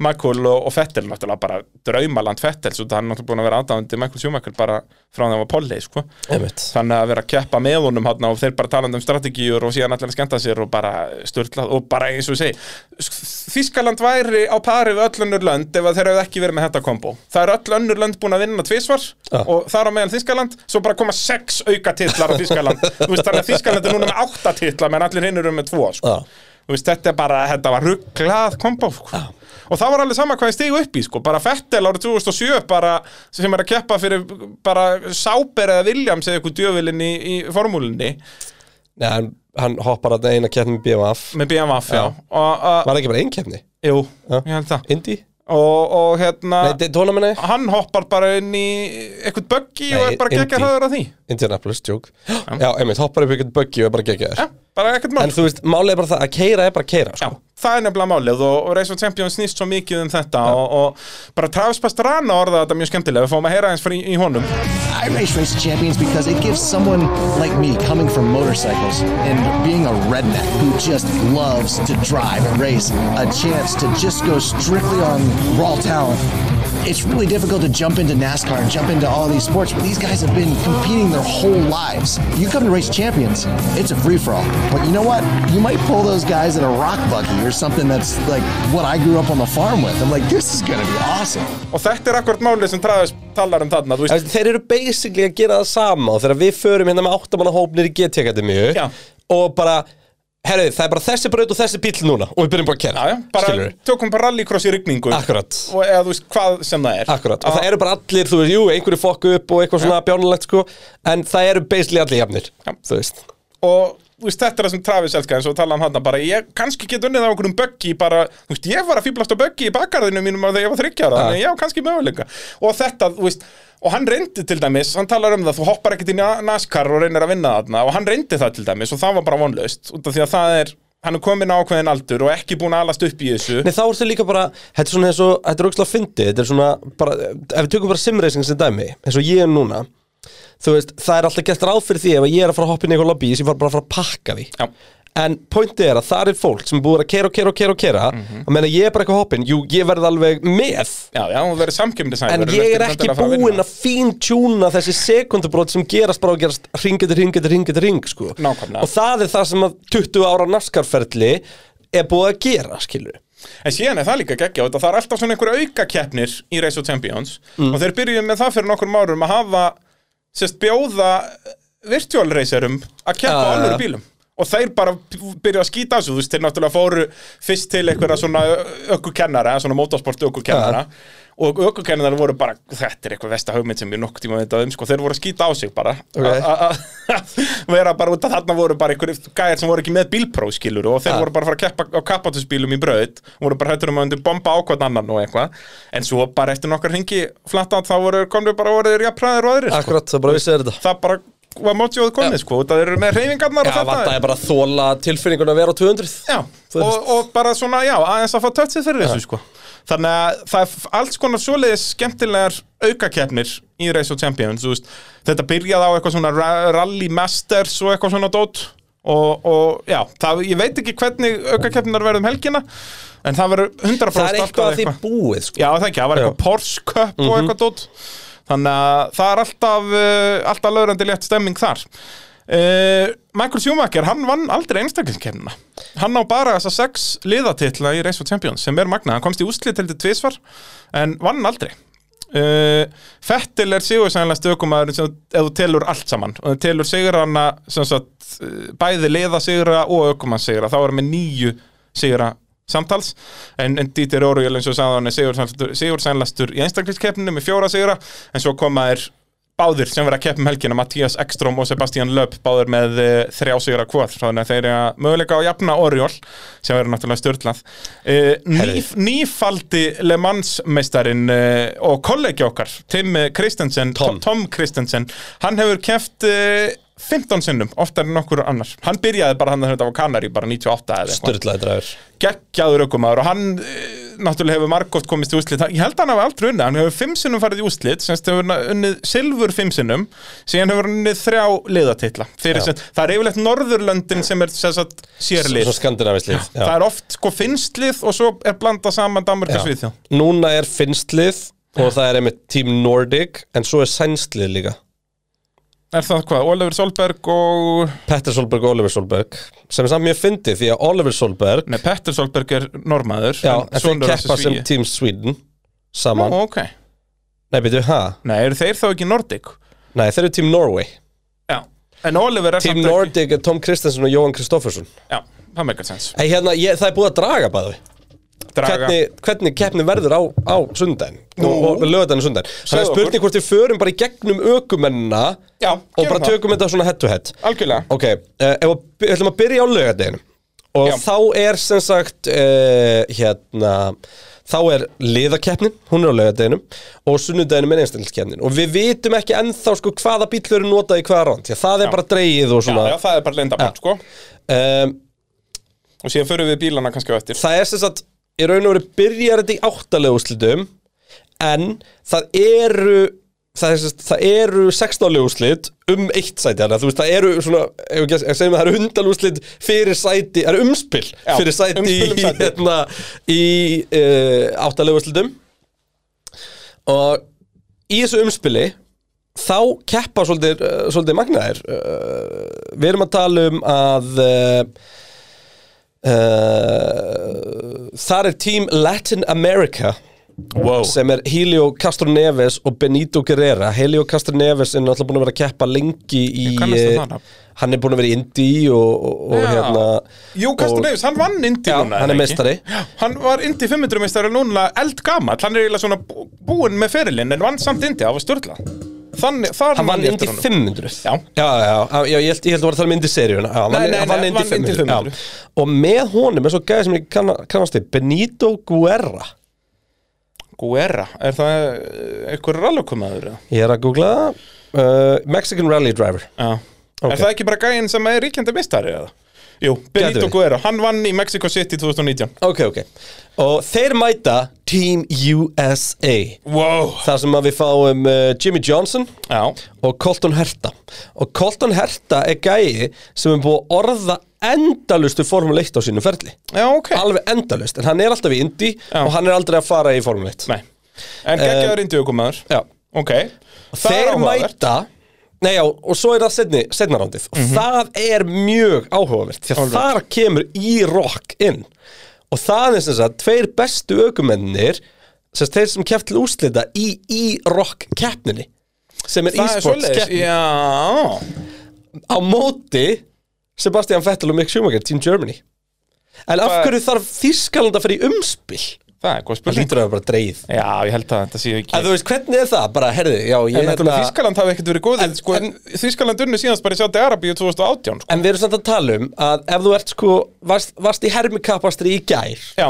Michael og, og Fettel, náttúrulega bara draumaland Fettel, svo það er náttúrulega búin að vera aðdáðandi Michael Schumacher bara frá þeim að polli, sko Einmitt. Þannig að vera að keppa með honum hann og þeir bara talandi um strategíur og síðan allir að skemmta sér og bara störtlað og bara eins og ég segi Þískaland væri á pari við öll önnur lönd ef að þeir hefðu ekki verið með þetta kombo Það er öll önnur lönd búin að vinna tvisvar og þar á meðan Þískaland svo bara koma sex auka titlar á Þískaland Þú veist, Þannig að Þískaland er núna með átta titlar menn allir hinn eru með tvo sko. Já. Þú veist, Þetta er bara, þetta var rugglað kombo sko. Og það var alveg sama hvað ég stegu upp í sko. bara Fettel árið 2007 bara, sem er að keppa fyrir bara Sáber eða Williams eða eitthvað djöfilinn í, í formúlinni Já, en hann hoppar að eina keppni með BMF með BMW já. Og, og, Var það ekki bara ein keppni? jú, Já. ég held það Indy? og, og hérna, Nei, Daytona menna ég? hann hoppar bara inn í eitthvað buggy og Nei, er bara geggjað Indy. hraður að því Indianapolis, joke Já, einmitt, hoppar upp ykkur buggy og er bara geggjað ja, bara ekkert mál En þú veist, málið er bara það að keira er bara að keira Já, sko. það er nefnilega málið og, og Race of Champions snýst svo mikið um þetta og, og bara Travis Pastrana orðaði þetta mjög skemmtilega, við fáum að heyra eins fyrir í, í honum I race Race of Champions because it gives someone like me coming from motorcycles and being a redneck who just loves to drive and race a chance to just go strictly on raw talent. It's really difficult to jump into NASCAR and jump into all these sports, but these guys have been competing their whole lives. You come to race champions, it's a free for all. But you know what? You might pull those guys at a rock buggy or something that's like what I grew up on the farm with. I'm like, this is gonna be awesome. Og þetta er akkurat málið sem Travis talar um þarna, þú Þú veist, veist, Þeir eru basically að gera það sama og þegar við förum hérna með áttamanna hópnir í GT Akademíu Já. og bara, herru, það er bara þessi braut og þessi bíl núna og við byrjum bara að já, kera já, bara Skilurðu? tökum bara rallycross í rigningu Akkurat. Og eða þú veist hvað sem það er Akkurat, og það Já, eru bara allir, þú veist, jú, einhverju fokku upp og eitthvað svona bjánulegt, sko En það eru basically allir jafnir, Já. þú veist Og þú veist, þetta er það sem Travis elskar eins og tala um hann bara Ég kannski get unnið á einhverjum böggi bara Þú veist, ég var að fýblast á böggi í bakgarðinu mínum að þegar ég var þryggjara Þannig já, kannski möguleika Og þetta, þú veist Og hann reyndi til dæmis, hann talar um það, þú hoppar ekkert í Na- NASCAR og reynir að vinna þarna og hann reyndi það til dæmis og það var bara vonlaust út af því að það er, hann er komin á ákveðin aldur og ekki búin að alast upp í þessu Nei, þá er þetta líka bara, þetta er svona eins og, þetta er aukslega fyndið Þetta er svona, bara, ef við tökum bara simracing sem dæmi, eins og ég er núna Þú veist, það er alltaf gert ráð fyrir því ef að ég er að fara að hoppa inn í eitthvað lobby, ég var bara að fara að pakka því Já. En pointið er að það er fólk sem er búið að kera og kera og kera og kera mm Mhm. -hmm. meina ég er bara eitthvað hoppin, jú, ég verð alveg með Já, já, hún verið samkjöfnisæður En ég er ekki búinn að fíntjúna þessi sekundubrót sem gerast bara og gerast ring eftir ring eftir ring eftir ring sko. Nákvæmlega. Og það er það sem að 20 ára naskarferli er búið að gera, skilur En síðan er það líka geggja og það er alltaf svona einhverja aukakeppnir í Race of Champions Mm. og þeir byrjuðu með það fyrir nokkur árum að hafa sérst bjóða eh, virtual racerum að keppa á Já, já, alvöru já. bílum og þeir bara byrjuðu að skýta þessu þú veist, þeir náttúrulega fóru fyrst til einhverja svona ökkukennara, svona motorsport ökkukennara og ökkukennarar voru bara þetta er eitthvað vesta hugmynd sem ég nokkuð tíma veit að um sko, þeir voru að skýta á sig bara Ok. A- a- a- vera bara út að þarna voru bara einhverjir gæjar sem voru ekki með bílpróf skilur og þeir Ja. voru bara að fara að keppa á kappatusbílum í braut voru bara hættur um að undir bomba á hvern annan og eitthvað en svo bara eftir nokkar hringi flatt átt þá voru komnir bara og voru þeir jafnræðir og aðrir sko. Akkurat, það bara vissið þetta það bara var mótjóð komið sko út að þeir eru með reyfingarnar Já, og þetta vant er bara að þóla tilfinningun að vera á 200 Já, Þú og, veist. og bara svona, já, aðeins að fá tötsið fyrir þessu sko Þannig að það er f- alls konar svoleiðis skemmtilegar aukakeppnir í Race of Champions þú veist, Þetta byrjaði á eitthvað svona ra- Rally Masters og eitthvað svona dót og, og já, það, ég veit ekki hvernig aukakeppnar verðum helgina en það verður 100% Það er alltaf eitthvað að því búið, sko Já, það ekki, það var eitthvað Porsche Cup og eitthvað dót Þannig að það er alltaf, uh, alltaf lögrandi létt stemming þar uh, Michael Schumacher, hann vann aldrei einstaklingskeppnina Hann á bara þessa sex liðatitla í Race for Champions sem er magnað, hann komst í úslit heldur tvisvar en vann aldrei Uh, Fettil er sigur sannlega stökumæður sem ef þú telur allt saman og þú telur sigurana sem sagt, eh, bæði liða sigura og aukumann sigura þá er hann með nýju sigura samtals en, en Dieter Orjól eins og sagði hann er sigur sannlega í einstaklingskeppninu með fjóra sigura en svo koma þér báðir sem vera að keppa um helgina Mattias Ekström og Sebastian Löp báðir með uh, þrjá sigra hvor þannig að þeir eru að möguleika á að jafna Orjól sem verður náttúrulega störtlað uh, nýf, nýfaldi Le Mans meistarin uh, og kollegi okkar Tim eh, Christensen Tom, Tom Christensen hann hefur keft uh, 15 sinnum, oftar en okkur annar hann byrjaði bara hann að þetta var Kanari bara 98 eða eitthvað Sturlaði dræður geggjaður ökumaður og hann eh, náttúrulega hefur margótt komist í úslit ég held að hann hafi aldrei unnið, hann hefur fimm sinnum farið í úslit semst hefur hann unnið silfur fimm sinnum síðan hefur hann unnið þrjá liðatitla fyrir sem, það er yfirleitt Norðurlöndin sem er sem sagt, sérlið Svo skandinavislið það er oft sko finnstlið og svo er blanda saman Danmark og Svíþjóð Núna er finstlið og það er einmitt Team Nordic en svo er sænstlið líka er það hvað, Ólafur Solberg og Petter Solberg og Oliver Solberg sem er samt mjög fyndið því að Oliver Solberg nei, Petter Solberg er normaður já, en en þeir sonur hans er keppa sem Svíi. Team Sweden saman Ó, ok, Nei, byrju, ha? nei, eru þeir þá ekki Nordic Nei, þeir eru Team Norway já, en Ólafur er Team samt ekki- Nordic er Tom Kristensen og Jóhann Kristoffersson já, það meikar sens Ei, hérna, ég, það er búið að draga bæði Draga- hvernig, hvernig keppni verður á, á sundaginn og, og lögadaginn og sundaginn Það er Segðu spurning hvort við förum bara í gegnum ökumennina Já, og bara gerum það. tökum þetta svona head to head algjörlega Ok, uh, ef að, við ætlum að byrja á laugardeginu og Já. þá er sem sagt uh, hérna þá er liðakeppnin, hún er á laugardeginum og sunnudeginum er einstaklingskeppnin og við vitum ekki ennþá sko hvaða bíl verður notað í hvaða ránd, því að það er bara dreigið og Já, svona já, það er bara lindaband, sko um, Og síðan förum við bílana kannski á eftir það er sem sagt í raun og veru byrjar þetta í áttalegu úrslitum en það eru það, er, sem sagt, það eru 16 legu úrslit um eitt sæti þannig að þú veist það eru svona ef við ekki- ef segjum að það eru 100 úrslit fyrir sæti það eru umspil Já, fyrir sæti umspil um í, sæti. hérna, í uh, áttalegu úrslitum og í þessu umspili þá keppa svolítið, uh, svolítið magnaðir uh, við erum að tala um að uh, uh, þar er tím Latin America wow. sem er Helio Castro Neves og Benito Guerrera Helio Castro Neves er náttúrulega búin að vera að keppa lengi í eh, Ég kannast við það nafn. hann er búin að vera í Indi og, og, og Já. hérna Jú, Kastur Nevis, hann vann Indy Já, núna hann er ekki? meistari. Hann var Indy 500 meistari núna eldgamall Hann er eiginlega svona bú- búinn með ferilinn En vann samt Indy, það var störla Þannig, þar hann vann ég Indi eftir honum. 500 Já. já, já, já, já ég, held, ég held að voru að tala um Indi seríuna já, hann Nei, vann- nei, hann nei, vann Indi vann Indy 500 500. já. og með honum er svo gæði sem ég kann- kannast þið Benito Guerra Guerra, er það eh, einhver rallokumaður? eða? ég er að googla það uh, Mexican Rally Driver Já Er það ekki bara gæinn sem er ríkjandi meistari? Eða? Jú, Benito verið. Guerra, hann vann í Mexico City 2019 Ok, ok Og þeir mæta Team USA Wow Þar sem að við fáum uh, Jimmy Johnson Já, og Colton Herta Og Colton Herta er gæi sem er búið að orða endalustu Formule 1 á sínum ferli já ok Alveg endalust, en hann er alltaf í Indy Já. og hann er aldrei að fara í Formule 1 Nei En geggjaður Indy ökumaður Eh, Já. Ok Það er Þeir áhugavert. mæta Nei, já, og svo er það setni, setna rándið Mhm. Það er mjög áhugavert Því að Alright. þar kemur í rock inn Og það er sem sagt Tveir bestu ökumennir sem sagt, Þeir sem keft til úslita í í rock keppninni Sem er Það er e-sports svoleiðis, keppni já Á móti Sebastian Vettel og Mick Schumacher, Team Germany En af Það- hverju þarf Þýskaland að fara í umspil? Það er góð Það spurning lítur að vera bara dreigð Já, ég held að þetta séu ekki En þú veist, hvernig er það? Bara, herði, já, ég En hérna- náttúrulega Þískaland hafi ekkert verið góð en, En- sko, en- Þískaland unnu síðanst bara í Sáti Arabíu 2018 sko. En við erum samt að tala um að ef þú ert sko, varst, varst í hermikapastri í gær, Já,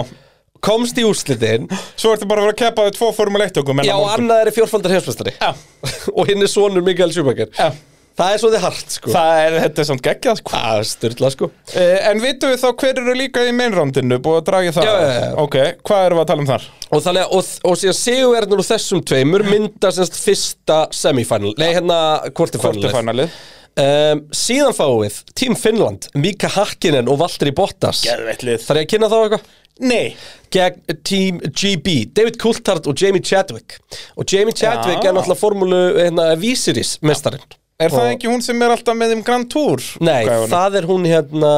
komst í úrslitin, svo ertu bara að vera að keppa við tvo Formule 1 okkur já, annað er fjórfaldar heimsmestari. Já. og hinn er sonur Mikael Schumacher. Já. Það er svo þið hart, sko. Það er, þetta er samt geggjað sko. Það er styrla, sko. eh, En vitum við þá hver eru líka í meinrándinu Búið að draga í það Já, já, já. Ok, hvað erum við að tala um þar? Og þannig að, og, og síðan sigurverðnur úr þessum tveimur mynda semst fyrsta semifinal, nei, hérna, quarterfinalið. Kortufænalið Um, síðan fáum við Team Finland, Mika Hakkinen og Valtteri Bottas. Geðveitlið Þar ég að kynna þá eitthvað? Nei gegn Team GB David Coulthard og Jamie Chadwick og Jamie Chadwick Já. er náttúrulega formúlu hérna, vísiris mestarinn Er það Og- ekki hún sem er alltaf með um Grand Tour? Nei, Gæjunum? það er hún hérna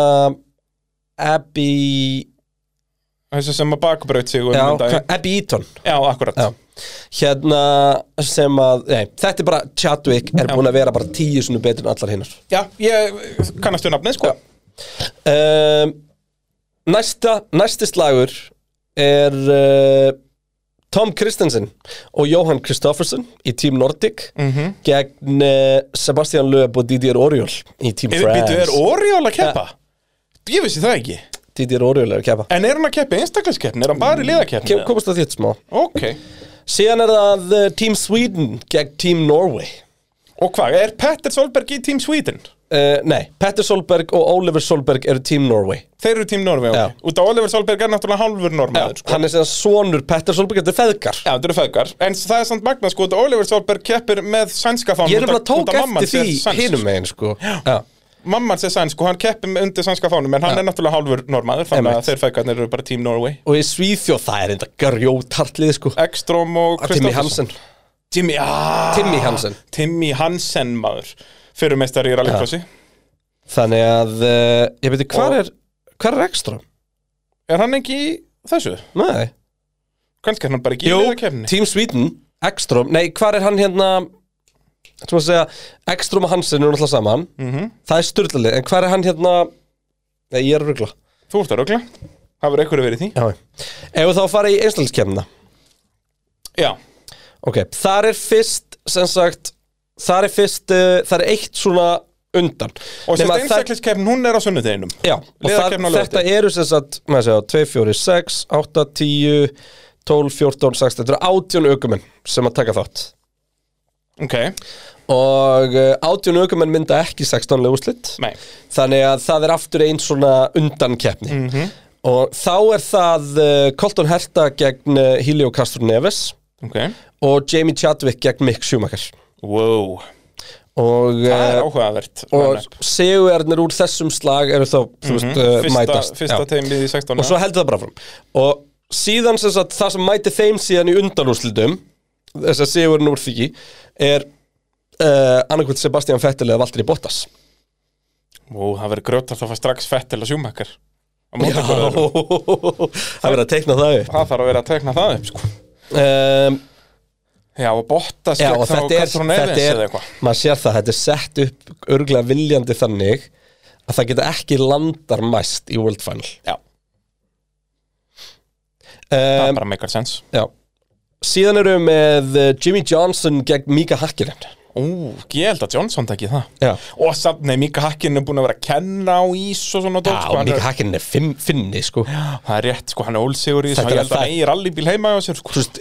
Abby Þessu sem að bakbraut sig um já, um daginn. hvað- Abby Eaton já, akkurat já. hérna sem að nei, þetta er bara Chadwick er búin að vera bara tíu sinni betur en allar hinnar Já, ég kannast við nafnið sko Ehm, um, næsta næsti slagur er uh, Tom Kristensen og Johan Kristoffersen í Team Nordic Mhm. gegn uh, Sebastian Loeb og Didier Oriol í Team Er, France býtu, er Oriol að keppa? Ég vissi það ekki Didier Oriol er að kepa En er hann að keppa í einstaklingskeppni? Er hann bara Mm, í liðakeppni? komast að því eitt smá Ok síðan er það uh, Team Sweden gegn Team Norway Og hvað, er Petter Solberg í Team Sweden? uh, nei, Petter Solberg og Oliver Solberg eru Team Norway Þeir eru Team Norveg Já. ok. Út af Oliver Solberg er náttúrulega hálfur normaður sko. hann er sem sagt sonur Petter Solberg þetta er feðgar Já, þetta eru feðgar En það er samt magnað sko út af Oliver Solberg keppir með sænska fánum ég er nefnilega tók eftir því með hinum megin sko Já. Mamman sé sænsk og hann keppir með- undir sænska fánum En hann er náttúrulega hálfur normaður Þannig Einmitt. að þeir feðgarnir eru bara Team Norway og í Svíþjóð það er enda grjótartlið sko Eh, Ekström og Timmy Kristoffersen. Hansen Jimmy, ah, Timmy Hansen Timmy Hansen maður Fyrir meistari í rallycrossi Þannig að, uh, ég veit, hvað Og- er, hvað er ekstra? Er hann ekki í þessu? Nei Kannski er hann bara ekki í liðakefni Team Sweden, Ekstrom, nei, hvað er hann hérna Þú maður að segja, Ekstrom og Hansen eru náttúrulega saman Mhm. -hmm. Það er styrlalið, en hvað er hann hérna Nei, ég er að rugla Þú ert að rögla Hafur einhverju verið í því? Já Ef við þá fara í einstakliskemna Já, Ok, þar er fyrst, sem sagt Þar er fyrst, uh, þar er eitt svona undan og sérst Nema þar- einstakliskeppn, hún er á sunnudeginum Já, og þar, Liðakefni á þetta laugardegi. eru sem sagt, maður segja, 2, 4, 6, 8, 10, 12, 14, 16, þetta eru 18 aukumenn sem að taka þátt. Ok, Og eh, 18 aukumenn mynda ekki 16 úrslit, nei þannig að það er aftur einn svona undankeppni. Mhm. Og þá er það eh, Colton Herta gegn eh, Helio Castro Neves Ok, og Jamie Chadwick gegn Mick Schumacher. wow Og, Það er eh, áhugavert og lineup. Mhm. sigurðarnir úr þessum slag eru þá, þú veist, eh, Fyrsta, mætast. fyrsta Já. teimið í 16 og svo heldur það bara fram og síðan sem sagt það sem mæti þeim síðan í undanúrslitum þess að sigurinn úr því er uh, annarkvöld Sebastian Vettel eða Valtteri Bottas Ó, það verður grjótar þá fæ strax Fettel og Sjúmakar Já, það verður að teikna það upp Það þarf að vera að tekna það upp sko um, Já, og Bottas Já, gegn og þá þetta er, Castro Neves þetta er eða eitthvað. maður sér það, þetta er sett upp örglega viljandi þannig að það geta ekki landar mæst í World Final Já, það um, bara meikar sens já. Síðan eru við með eh, Jimmy Johnson gegn Mika Hakkinen Ú, ég held að Johnson tekki það Já. Og samt, nei, Mika Hakkinn er búin að vera að kenna á ís og svona dót, Já, sko, hann Mika er- Hakkinen er fimm, finni sko Það er rétt, sko, hann er ólsegur í þessu Þetta Ég er held að það- hann eigi rallybíl heima á sér, sko þú veist,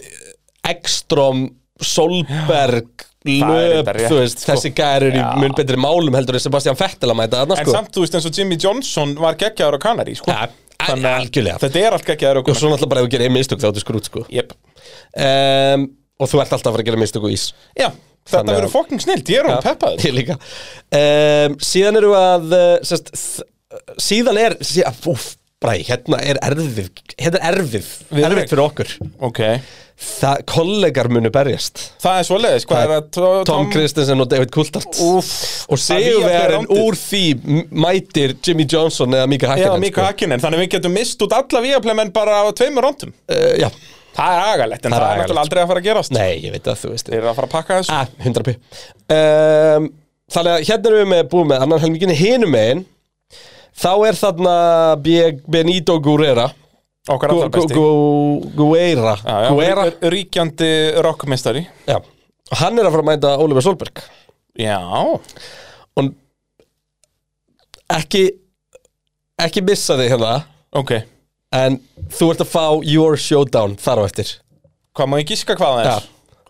Ekstrom, Solberg, er Löp, þetta rétt, þú veist, sko. þessi gæri eru í mun betri málum heldur en Sebastian Vettel að mæta þarna, En sko. samt, þú veist, eins og Jimmy Johnson var geggjaður á Kanari, sko ja, al- algjörlega. Þetta er allt geggjaður á og Kanari svo náttúrulega bara ef þú gerir ein mistök þá áttu skrút, sko. Jep. Um, og þú ert alltaf að fara að gera mistök og ís. Já, Þannig þetta að- verður fokking snilt, ég er hún peppaður Ég líka. Um, síðan eru að, uh, sérst, þ- síðan er, síðan, úf, bræ, hérna er erfið, hérna er erfið, erfið fyrir okkur. Ok, Það, kollegar munu berjast. það er svoleiðis, hvað Það er er að to- Tom Kristensen og David Coulthard. Úff, Og það er nýja fyrir sigurverðin úr rándið. því m- mætir Jimmy Johnson eða Mika sko. Já, Hakkinen Mika Hakkinen, þannig við getum mist út alla víaplemenn bara á tveimur rondum uh, Já, Það er agalegt, en Það það er er agalegt. náttúrulega aldrei að fara að gerast nei, ég veit að þú veist Þeir eru að fara að pakka þessu ah, 100 p um, Þannig að hérna erum við með búið með annan helmingin hinum megin Þá er þarna B- Benito Guerrera Okkar Ah, Gu- allra Gu- besti Gu- Guerra Já, já, Guerra rí- Ríkjandi rockmestari Já, og hann er að fara að mæta Oliver Solberg Já Og ekki ekki missa þig hérna Ok, en þú ert að fá your showdown þar á eftir hvað má ég gíska hvað það er?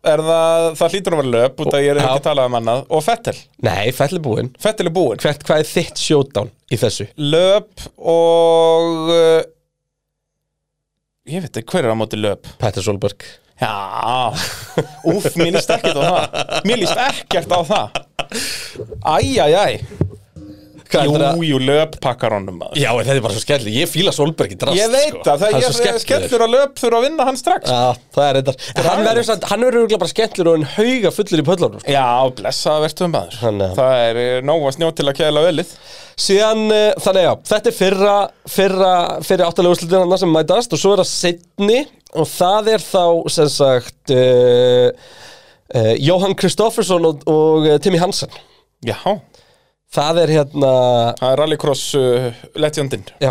Er það, það hlýtur að vera löp út að ég er Já. ekki talað um annað Og Fettel, Nei, fellibúin Fettel er búinn Hvert, hvað er þitt showdown í þessu? Löp og uh, Ég veit ekki, hver er á móti löp? Petter Solberg Já, úf, mér líst ekkert á það Mér líst ekkert á það Æ, æ, æ Hvað er Jú, þetta? jú, löp pakkar honum maður Já, en þetta er bara svo skellir Ég fíla Solberg í drast Ég veit sko. það, það Hann ég svo er skellur að löp þurfa að vinna hann strax Já, það er reyndar En Hann aðeins. verður samt- hann verður örugglega bara skellur og hann hauga fullur í pöllunum sko. Já, blessaða verðtum maður Þannig að- Það er eh, nóg að snjó til að kæla velið Síðan, eh, þannig já, þetta er fyrra fyrra, fyrra áttalega úrslutin hann sem mætast og svo er það setni og það er þá, sem sagt uh, uh, Jóhann Kristoffersson og, og eh, Timmy Hansen Já, Það er hérna það er rallycross uh, eh, legendin Já,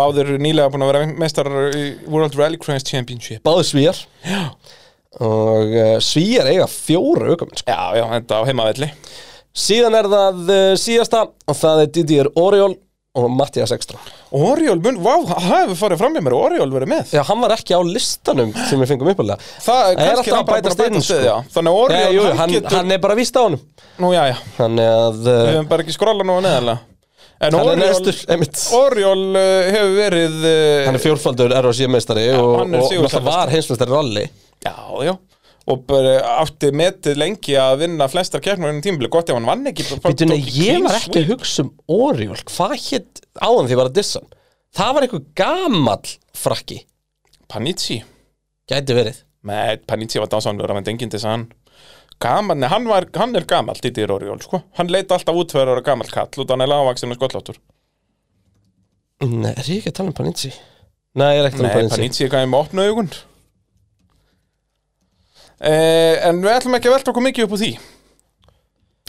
Báðir nýlega búin að vera meistarar í World Rallycross Championship Báði svíjar Og uh, svíjar eiga fjóra aukumenn sko. Já, já, enda á heimavelli Síðan er það uh, síðasta Og það er Didier Oriol og Mattias Ekstra Oriol, mun, vá, það hefur farið fram með mér Oriol verið með Já, hann var ekki á listanum sem við fengum uppalega Það er kannski alltaf hann bara búin að bætast að bæta inn, stið, sko. já Þannig að Já, Oriol, jú, hann, hann, getur hann er bara víst á honum Nú, já, já, Þannig að við uh, hefum bara ekki skrollan nú að neðanlega En hann er Oriol, neðstur, einmitt Oriol uh, hefur verið uh, Hann er fjórfaldur ROC-meistari og, hann er og sigursælast. náttúrulega var heimsmeistari rally Já, já og bara átti metið lengi að vinna flestar keppnum ennum tímabili, gott ef hann vann ekki bara- bara Býtu, nei, tók í ég clean var ekki sweep. að hugsa um Oriol Hvað hétt áðan því ég var að dissa hann? Það var eitthvað gamall frakki Panizzi, Gæti verið með Panizzi var dásamlegur hann enginn til þess að hann gaman, nei, hann, var, hann er gamall, Didi Roriol sko. hann leit alltaf út fyrir að vera gamall kall út af hann er lágvaksin og skolláttur Nei, er ég ekki að tala um Panizzi? Nei, ég er ekki Nei, að tala um Panizzi Panizzi er gæði með opna augun eh, En við ætlum ekki að velta okkur mikið upp úr því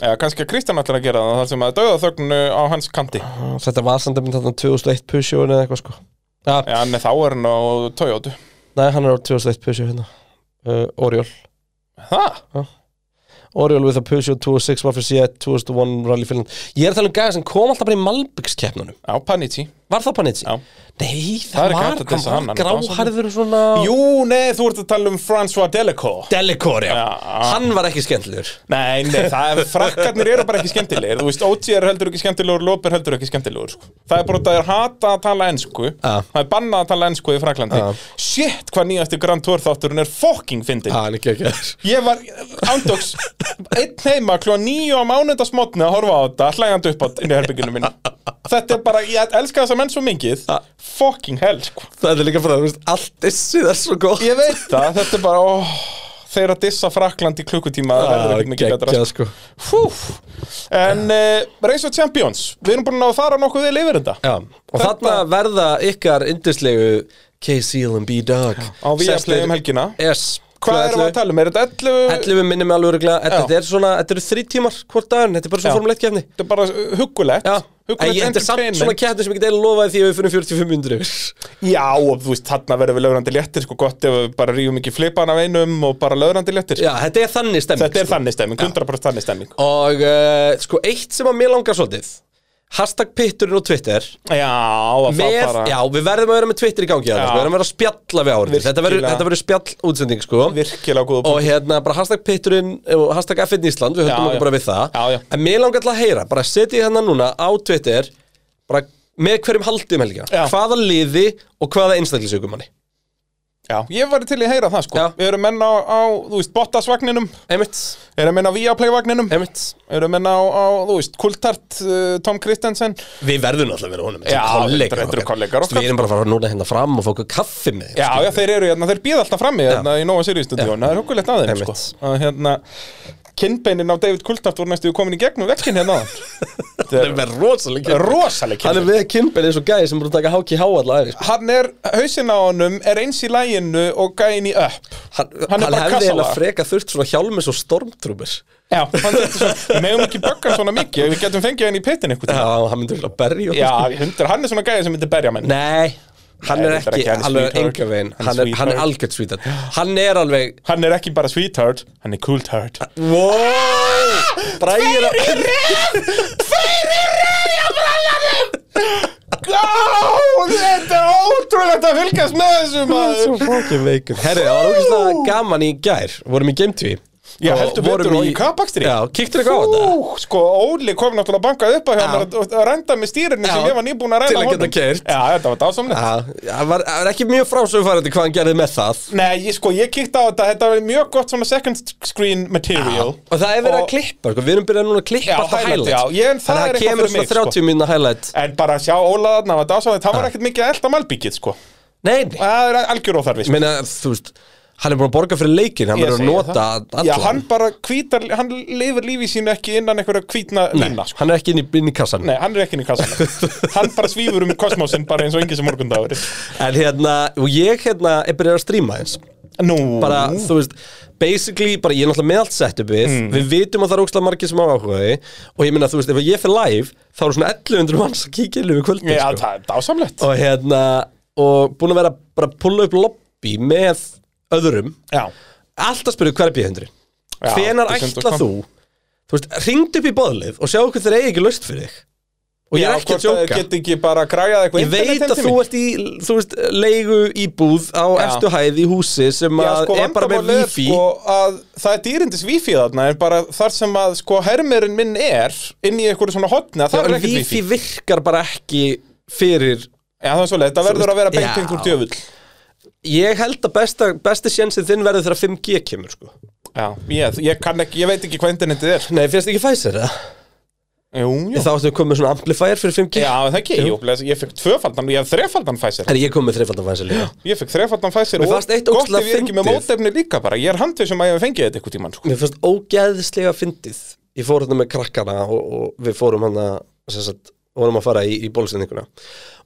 Eða kannski að Kristján ætlar að gera það þar sem að dauða þögnu á hans kanti Þetta var samt einmitt þarna 2001 Peugeot eða eitthvað sko ja, Já, en þá er hann á Toyota Nei, hann er á 2001 Peugeot hérna uh, Oriol Það? Oriol with a Peugeot 206 var fyrir síðan 2001 Rally Finland Ég er að tala um gæði sem kom alltaf bara í Malbyggskeppnunum Já, Panizzi Var það Panizzi? Já. Nei, Það er ekki hægt það, var, að hann dissa var hann, hann er gráharður svona Jú, nei, þú ert að tala um François Delacour Delicore, já. Já. Hann var ekki skemmtilegur Nei, nei, það er, frakkarnir eru bara ekki skemmtilegir Þú veist, OG er heldur ekki skemmtilegur, Lóper heldur ekki skemmtilegur sko. Það er bara að það er hata að tala ensku Já. Það er bannað að tala ensku í Fraklandi Já. Shit, hvað nýjasti Grand Tour þátturinn er fucking fyndin hann er geggjaður Ég var ándóks einn heima klúa nýju á mánundasmotni að horfa á þetta, hlægandi upp á inn í herbygginu mínu. Þetta er bara, ég elska þessa menn svo mingið, fucking hell, sko. Það er líka frá, þú veist, allt dissið er svo gott Ég veit það, þetta er bara, óh, þeir að dissa Frakland í klukkutíma, það verður ekki mikið betra. geggjað sko. sko Hú, en uh, Race of Champions, við erum búin að fara nokkuð vel yfir þetta. Já, og þarna verða ykkar indislegu K-Seal and B-Dog Á Viaplay um helgina. Yes Hvað erum við að tala um? Er þetta 11? 11 minnum alveg öruglega, Já. þetta er svona, þetta eru þrý tímar hvort dagurinn, þetta er bara Já. svo formuleitt kefni Þetta er bara uh, huggulegt. Já, en Huggulegt ég, þetta er samt entertainment. svona kefni sem ég get eða lofaði því að við fyrir 45 hundru Já, og þú veist, þarna verðum við lögrandi léttir sko gott ef við bara rífum ekki flipan af einum og bara lögrandi léttir sko. Já, þetta er þannig stemming Þetta er sko. þannig stemming, 100% þannig stemming Og uh, sko, eitt sem að mér langar svolítið Hashtag pitturinn og Twitter Já, að fá með, bara Já, við verðum að vera með Twitter í gangi þarna, Já. sko, Við verðum að vera að spjalla við áhrif Þetta verður- Virkilega. þetta verður spjall útsending sko. virkilega góða Og punktur. hérna bara hashtag pitturinn eh, og Hashtag F1 Ísland, við Já, höfum já. okkur bara við það Já, já. En mér langar alltaf að heyra Bara setja hérna núna á Twitter bara, Með hverjum haldið um helgina Já. Hvaða liði og hvaða einstaklisökumanni Já, ég var til í að heyra það sko Já. Við erum menn á, á þú veist, Bottasvagninum Einmitt, Erum menn á Viaplay-vagninum einmitt Erum menn á, á, þú veist, Kultart, uh, Tom Kristensen Við verðum alltaf að vera honum þetta Já, eru þetta eru kollegar Þú veist, okkar. Við erum bara að fara núna hérna fram og fá okkur kaffi með þeim, Já, skilur já, þeir eru hérna, þeir býða alltaf frammi hérna í Nóa Sirius-studión, það er huggulegt að þeim, sko Einmitt. að, hérna, kinnbeinin á David Kultart voru næstu komin í gegnum vekkin hérna áðan. Þetta Hann er með rosaleg er rosaleg Hann kinnbein er með kinnbein eins og gæði sem er búin að taka háki há allar aðeins hann er, hausinn á honum er eins í læginu og gæinn í upp Hann, Hann er bara hann, hefði kassalaga. eiginlega freka þurft svona hjálmis og stormtrúmur Já, Já, hann er svona, við megum ekki böggan svona mikið við getum fengið hann í pittin einhvern tímann. hann myndi vilja berja okkur, Já, sko. hundur, hann er svona gæði sem myndi berja menn Nei, hann Nei, er þetta er ekki, ekki, hann er alveg sweetheart. enga veginn Hann er sweetheart. Hann er, hann er algjörn svítan Hann er alveg Hann er ekki bara sweetheart, hann er cooltheart wow, Bræðir að Ó, þetta er ótrúlegt að fylgjast með þessu maður fokkin veikur Herri, það var ógæslega gaman í gær Vorum í gametífi Já, heldur betur og í kapakstri Já, kíktir eitthvað á þetta Sko, Óli kom náttúrulega bankað upp að hjá Já. mér og- og að renda með stýrinni sem Já. ég var nýbúin að ræða Til að geta keyrt. Já, þetta var dásamlegt Já, það var, það var ekki mjög frásöfærandi hvað hann gerði með það Nei, ég, sko, ég kíkti á þetta, þetta var mjög gott svona second screen material Og það er verið að Og- klippa, sko. við erum byrjað núna að klippa Já, alltaf highlight, highlight já, ég- en það Þannig að er það eitthvað kemur fyrir svona mig, 30 sko. minna highlight En bara að sjá Óla þarna, var dásamlegt, það var ekkert mikið elda malbyggið, sko Nei, nei, Það er algjör óþarfi, ég sko meina, þú veist, hann er búin að borga fyrir leikin, hann Ég verður að segi nota það. allan Já, hann bara hvítar, hann lifir lífi sínu ekki innan einhverja hvítna Nei, lína, sko hann er ekki inn í, inn í kassan Nei, hann er ekki inn í kassan Hann bara svífur um kosmósin bara eins og engin sem morgundagurinn En hérna, og ég hérna er byrjað að stríma eins Nú, Bara, þú veist, basically, bara, ég er náttúrulega með allt setupið Mm. Við vitum að það er ógstlega margir sem á áhugaði Og ég meina, þú veist, ef ég fer live Þá eru svona 1100 manns að kíkja inn við kvöldin Já, sko. það er dásamlegt Og hérna, og búin að vera bara að pulla upp lobby með öðrum Já, Alltaf spyrðu hver er bíðhundri Já, Hvenær þú sendur ætla kom. þú Þú veist, ringdu upp í boðlið og sjá okkur þeir eigi ekki laust fyrir þig Og ég Já, er ekki hvort að djóka Get ekki bara græjað eitthvað Ég veit internet heim að til þú mín? ert í, þú veist, leigu íbúð á efstu hæð í húsi sem Já, að sko, er bara með vandamálið er, wifi sko, að Það er dýrindis wifi þarna En bara þar sem að sko hermerinn minn er Inn í einhverju svona hotna Já, Það er en ekkert wifi Wifi virkar bara ekki fyrir Já, það er svo leið, það verður að vera veist, beintengt já. úr djöfull Ég held að besta, besti sjensið þinn verður þegar 5G kemur sko Já, ég, ég kann ekki, ég veit ekki hvað internetið er Nei, finnst ekki Pfizer eða? Jú, jú Þá áttum við komið svona amplifier fyrir 5G Já, það ekki, jú, bless, ég fekk tvöfaldan, ég hef þrefaldan Pfizer Herri, ég kom með þreifaldan Pfizer líka Ég fekk þrefaldan Pfizer Mér og fannst eitt gott ógeðslega ef ég er ekki með fyndið. mótefni líka bara Ég er handvisum að ég hef fengið þetta eitthvað tímann sko. Mér finnst ógeðslega fyndið Ég fór hérna með krakkana og, og við fórum hann að sagt, vorum að fara í, í bólusendinguna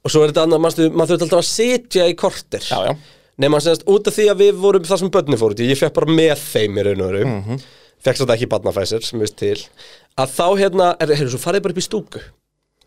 Og svo er þetta annað, manstu, maður þurft alltaf að sitja í kortir Já, já, Nefna semst út af því að við vorum þar sem börnin fóru til Ég fekk bara með þeim í raun og veru mm Mhm. -hmm. Fekk svo þetta ekki barnafæsir sem við til Að þá hérna, er, heyrðu, svo farið bara upp í stúku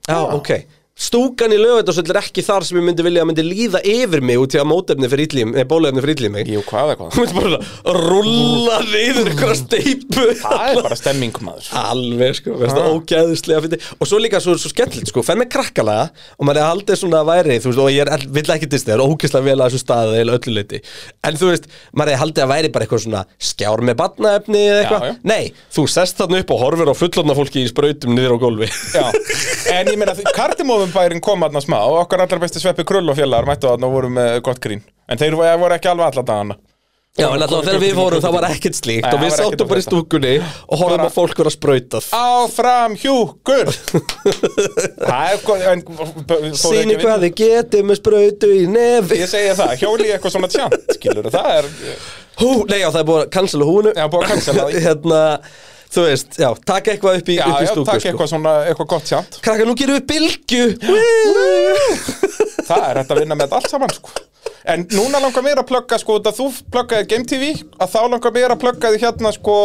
Já, ok Stúkan í lögut og er ekki þar sem ég myndi vilja að myndi líða yfir mig út í að mótefni fyrir illíum, eða bólefni fyrir illíum mig jú, hvað er hvað Hún myndi bara að rúlla niður eitthvað steipu Það er bara stemming maður Alveg sko, veist það ógæðislega fyndi Og svo líka svo, svo skemmtilegt sko, fer með krakkalega Og maður er aldrei svona væri, þú veist Og ég er, all- vill ekki disney, það er ógæðislega vel að þessu staði Eða öllu leiti, en þú veist Maður er haldið að væri bara eitthvað svona skjár með barnaefni Eða Já, eitthvað, já. nei, þú sest þarna upp Og horfir á fullorna fólki í sprautum niður á gólfi Já, en ég meina kardimófumbærin kom aðna smá og okkar allar besti sveppi krull og fjallar mættu aðna og voru með gott grín en þeir voru voru ekki alveg alla dagana Já, en alltaf þegar við fórum, það var ekkert slíkt Nei, Og við það var ekkert sátum bara í þetta. stúkunni Og horfum Bara- að fólk vera sprautað Áfram hjúkur Það er gott en fóru ekki Sýni við- hvað þið getið með sprautu í nefi Ég segi það, hjóli í eitthvað svona tjant skilur það er Hú, nei já, það er búið að cancela húnu Já, búið að cancela því. Hérna, þú veist, já, taka eitthvað upp í, Já, upp í já, stúku sko. takk eitthvað svona, eitthvað gott tjant Krakka, nú gerum við bylgju Woo! Það er hægt að vinna með þetta allt saman sko En núna langar mér að plugga sko út að þú pluggaði Game TV að þá langar mér að plugga því hérna sko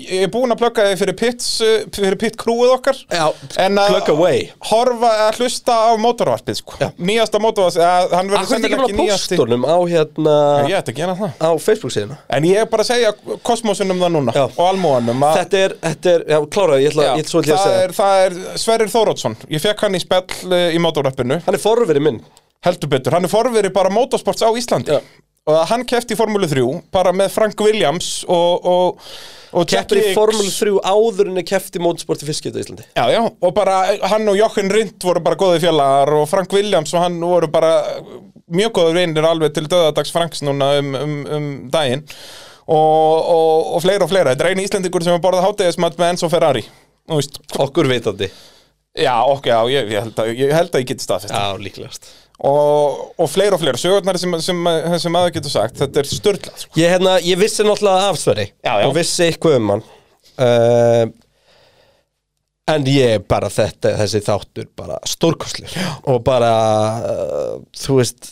ég er búinn að plugga því fyrir pits uh, fyrir pit krúið okkar Já, en að plug away. horfa að hlusta á mótorvarpið sko Já. nýjasta mótorvarpið hann verður Akkur er ekki sennilega bara ekki nýjasti póstunum á hérna Ég ætti að gera það Á Facebook síðan En ég er bara að segja kosmosunum það núna Já. og almóanum að Þetta er, þetta er, já, kláraði, ég ætla, Ah. Já, ég ætla svolítið að það, segja er, það er Sverrir Þórótsson Ég fekk hann í spell uh, í mótorvarpinu Hann er forverið minn Heldur betur, hann er forveri bara motorsports á Íslandi Já. og að hann kefti í Formúlu 3 bara með Frank Williams og, og, og Keppir í Hicks. Formule 3 áður en er keppt í mótorsporti fiskjötu í Íslandi Já, já, og bara eh, hann og Jochen Rindt voru bara góðið fjallar og Frank Williams og hann voru bara eh, mjög góðið reynir alveg til döðadags Franks núna um, um, um daginn og, og, og fleira og fleira Þetta er einu Íslandingur sem er borðað hátegismat með Enzo Ferrari Þú veist, Okkur vitandi Já, ok, já, ég, ég, held að, ég held að ég geti staðfest Já, líklegast og, og fleira og fleira sögurnar sem, sem, sem, sem aður getur sagt Þetta er störtlað, sko Ég, hérna, ég vissi náttúrulega af Sverri Já, já. og vissi eitthvað um hann uh, en ég bara þetta, þessi þáttur bara stórkostlur og bara uh, þú veist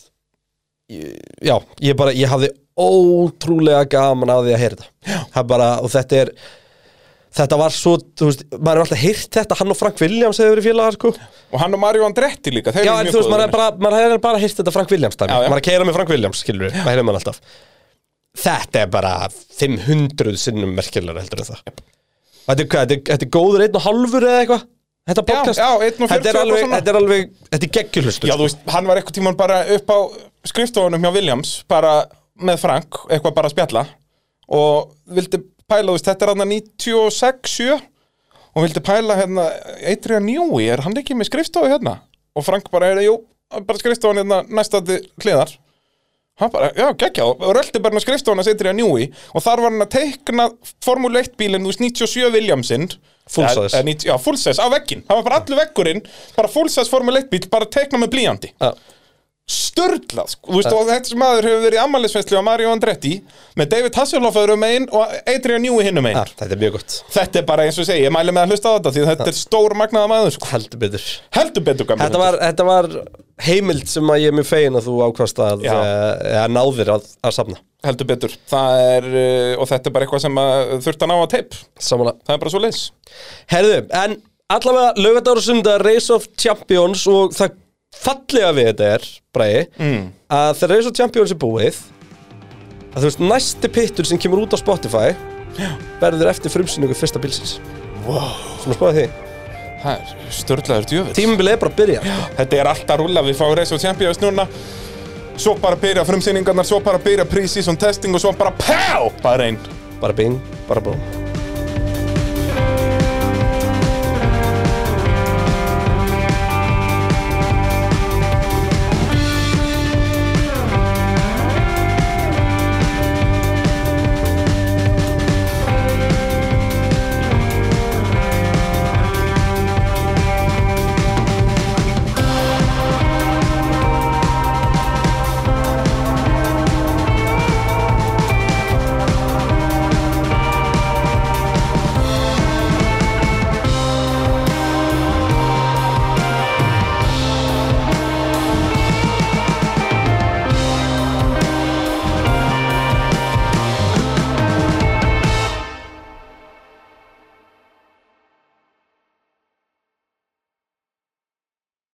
ég, já, ég bara, ég hafði ótrúlega gaman af því að heyra þetta Það bara, og þetta er þetta var svo, þú veist, maður er alltaf heyrt þetta, hann og Frank Williams hefur verið félagar sko Og hann og Mario Andretti líka, þeir Já, eru en mjög þú veist, maður góðir er bara, maður er bara hýrt þetta Frank Williams Já, dæmi já. Maður er að keira með Frank Williams, skilur við, það heyrir maður alltaf Þetta er bara 500 sinnum merkilegur heldur en það Þetta er hvað, þetta er, þetta er góður einn og hálfur eða eitthvað Þetta Já, podcast já, einn og Þetta er 40 alveg, eitthvað svona. þetta er alveg, þetta er geggjulust Já, þú veist, hann var eitthvað tíman bara upp á skrifstofunum hjá Williams, bara með Frank, eitthvað bara að spjalla og vildi pæla, þú veist, þetta er hann 96, 7 og vildi pæla hérna, Adrian Newey, er hann ekki með skrifstofu hérna? Og Frank bara, er, jú, bara skrifstofun hérna næstandi hliðar Hann bara, já, geggja, og röldi bara skrifstofuna Adrian Newey og þar var hann að teikna Formule 1 bílinn, þú veist, 97 Williamsinn Full Eh, size. eh, 90 Já, full size, á vegginn, það var bara allur veggurinn bara full size Formule 1 bíl, bara teikna með blíjandi Sturlað, sko, þú veist, og þetta sem maður hefur verið í ammælisfestli á Mario Andretti með David Hasselhoff öðrum megin og Adrian Newey hinnum megin. Já, þetta er mjög gott Þetta er bara eins og ég segi, ég mæli með að hlusta á þetta því að þetta er stór magnaða maður, sko. Heldur betur Heldur betur gamli. Þetta var, þetta var heimild sem að ég er mjög fegin að þú ákvast að Já. uh, náðir að, að safna Heldur betur. Það er, uh, og þetta er bara eitthvað sem að þurft að ná á teip. Samanlega Það er bara svo leis. Herðu, en allavega lögadagur og sundar Race of Champions og það fallega við þetta er, Bræði að þegar Race of Champions er búið að þú veist, næsti pittur sem kemur út á Spotify verður eftir frumsýningu fyrsta bílsins Wow Svona spáði því Það er sturlaður djöfull. Tímabilið er bara að byrja Já. Þetta er alltaf rúla, við fáum Race of Champions núna Svo bara byrja frumsýningarnar, svo bara byrja pre-season testing og svo bara PÁ! Bara einn Bara sko. bing, bara búm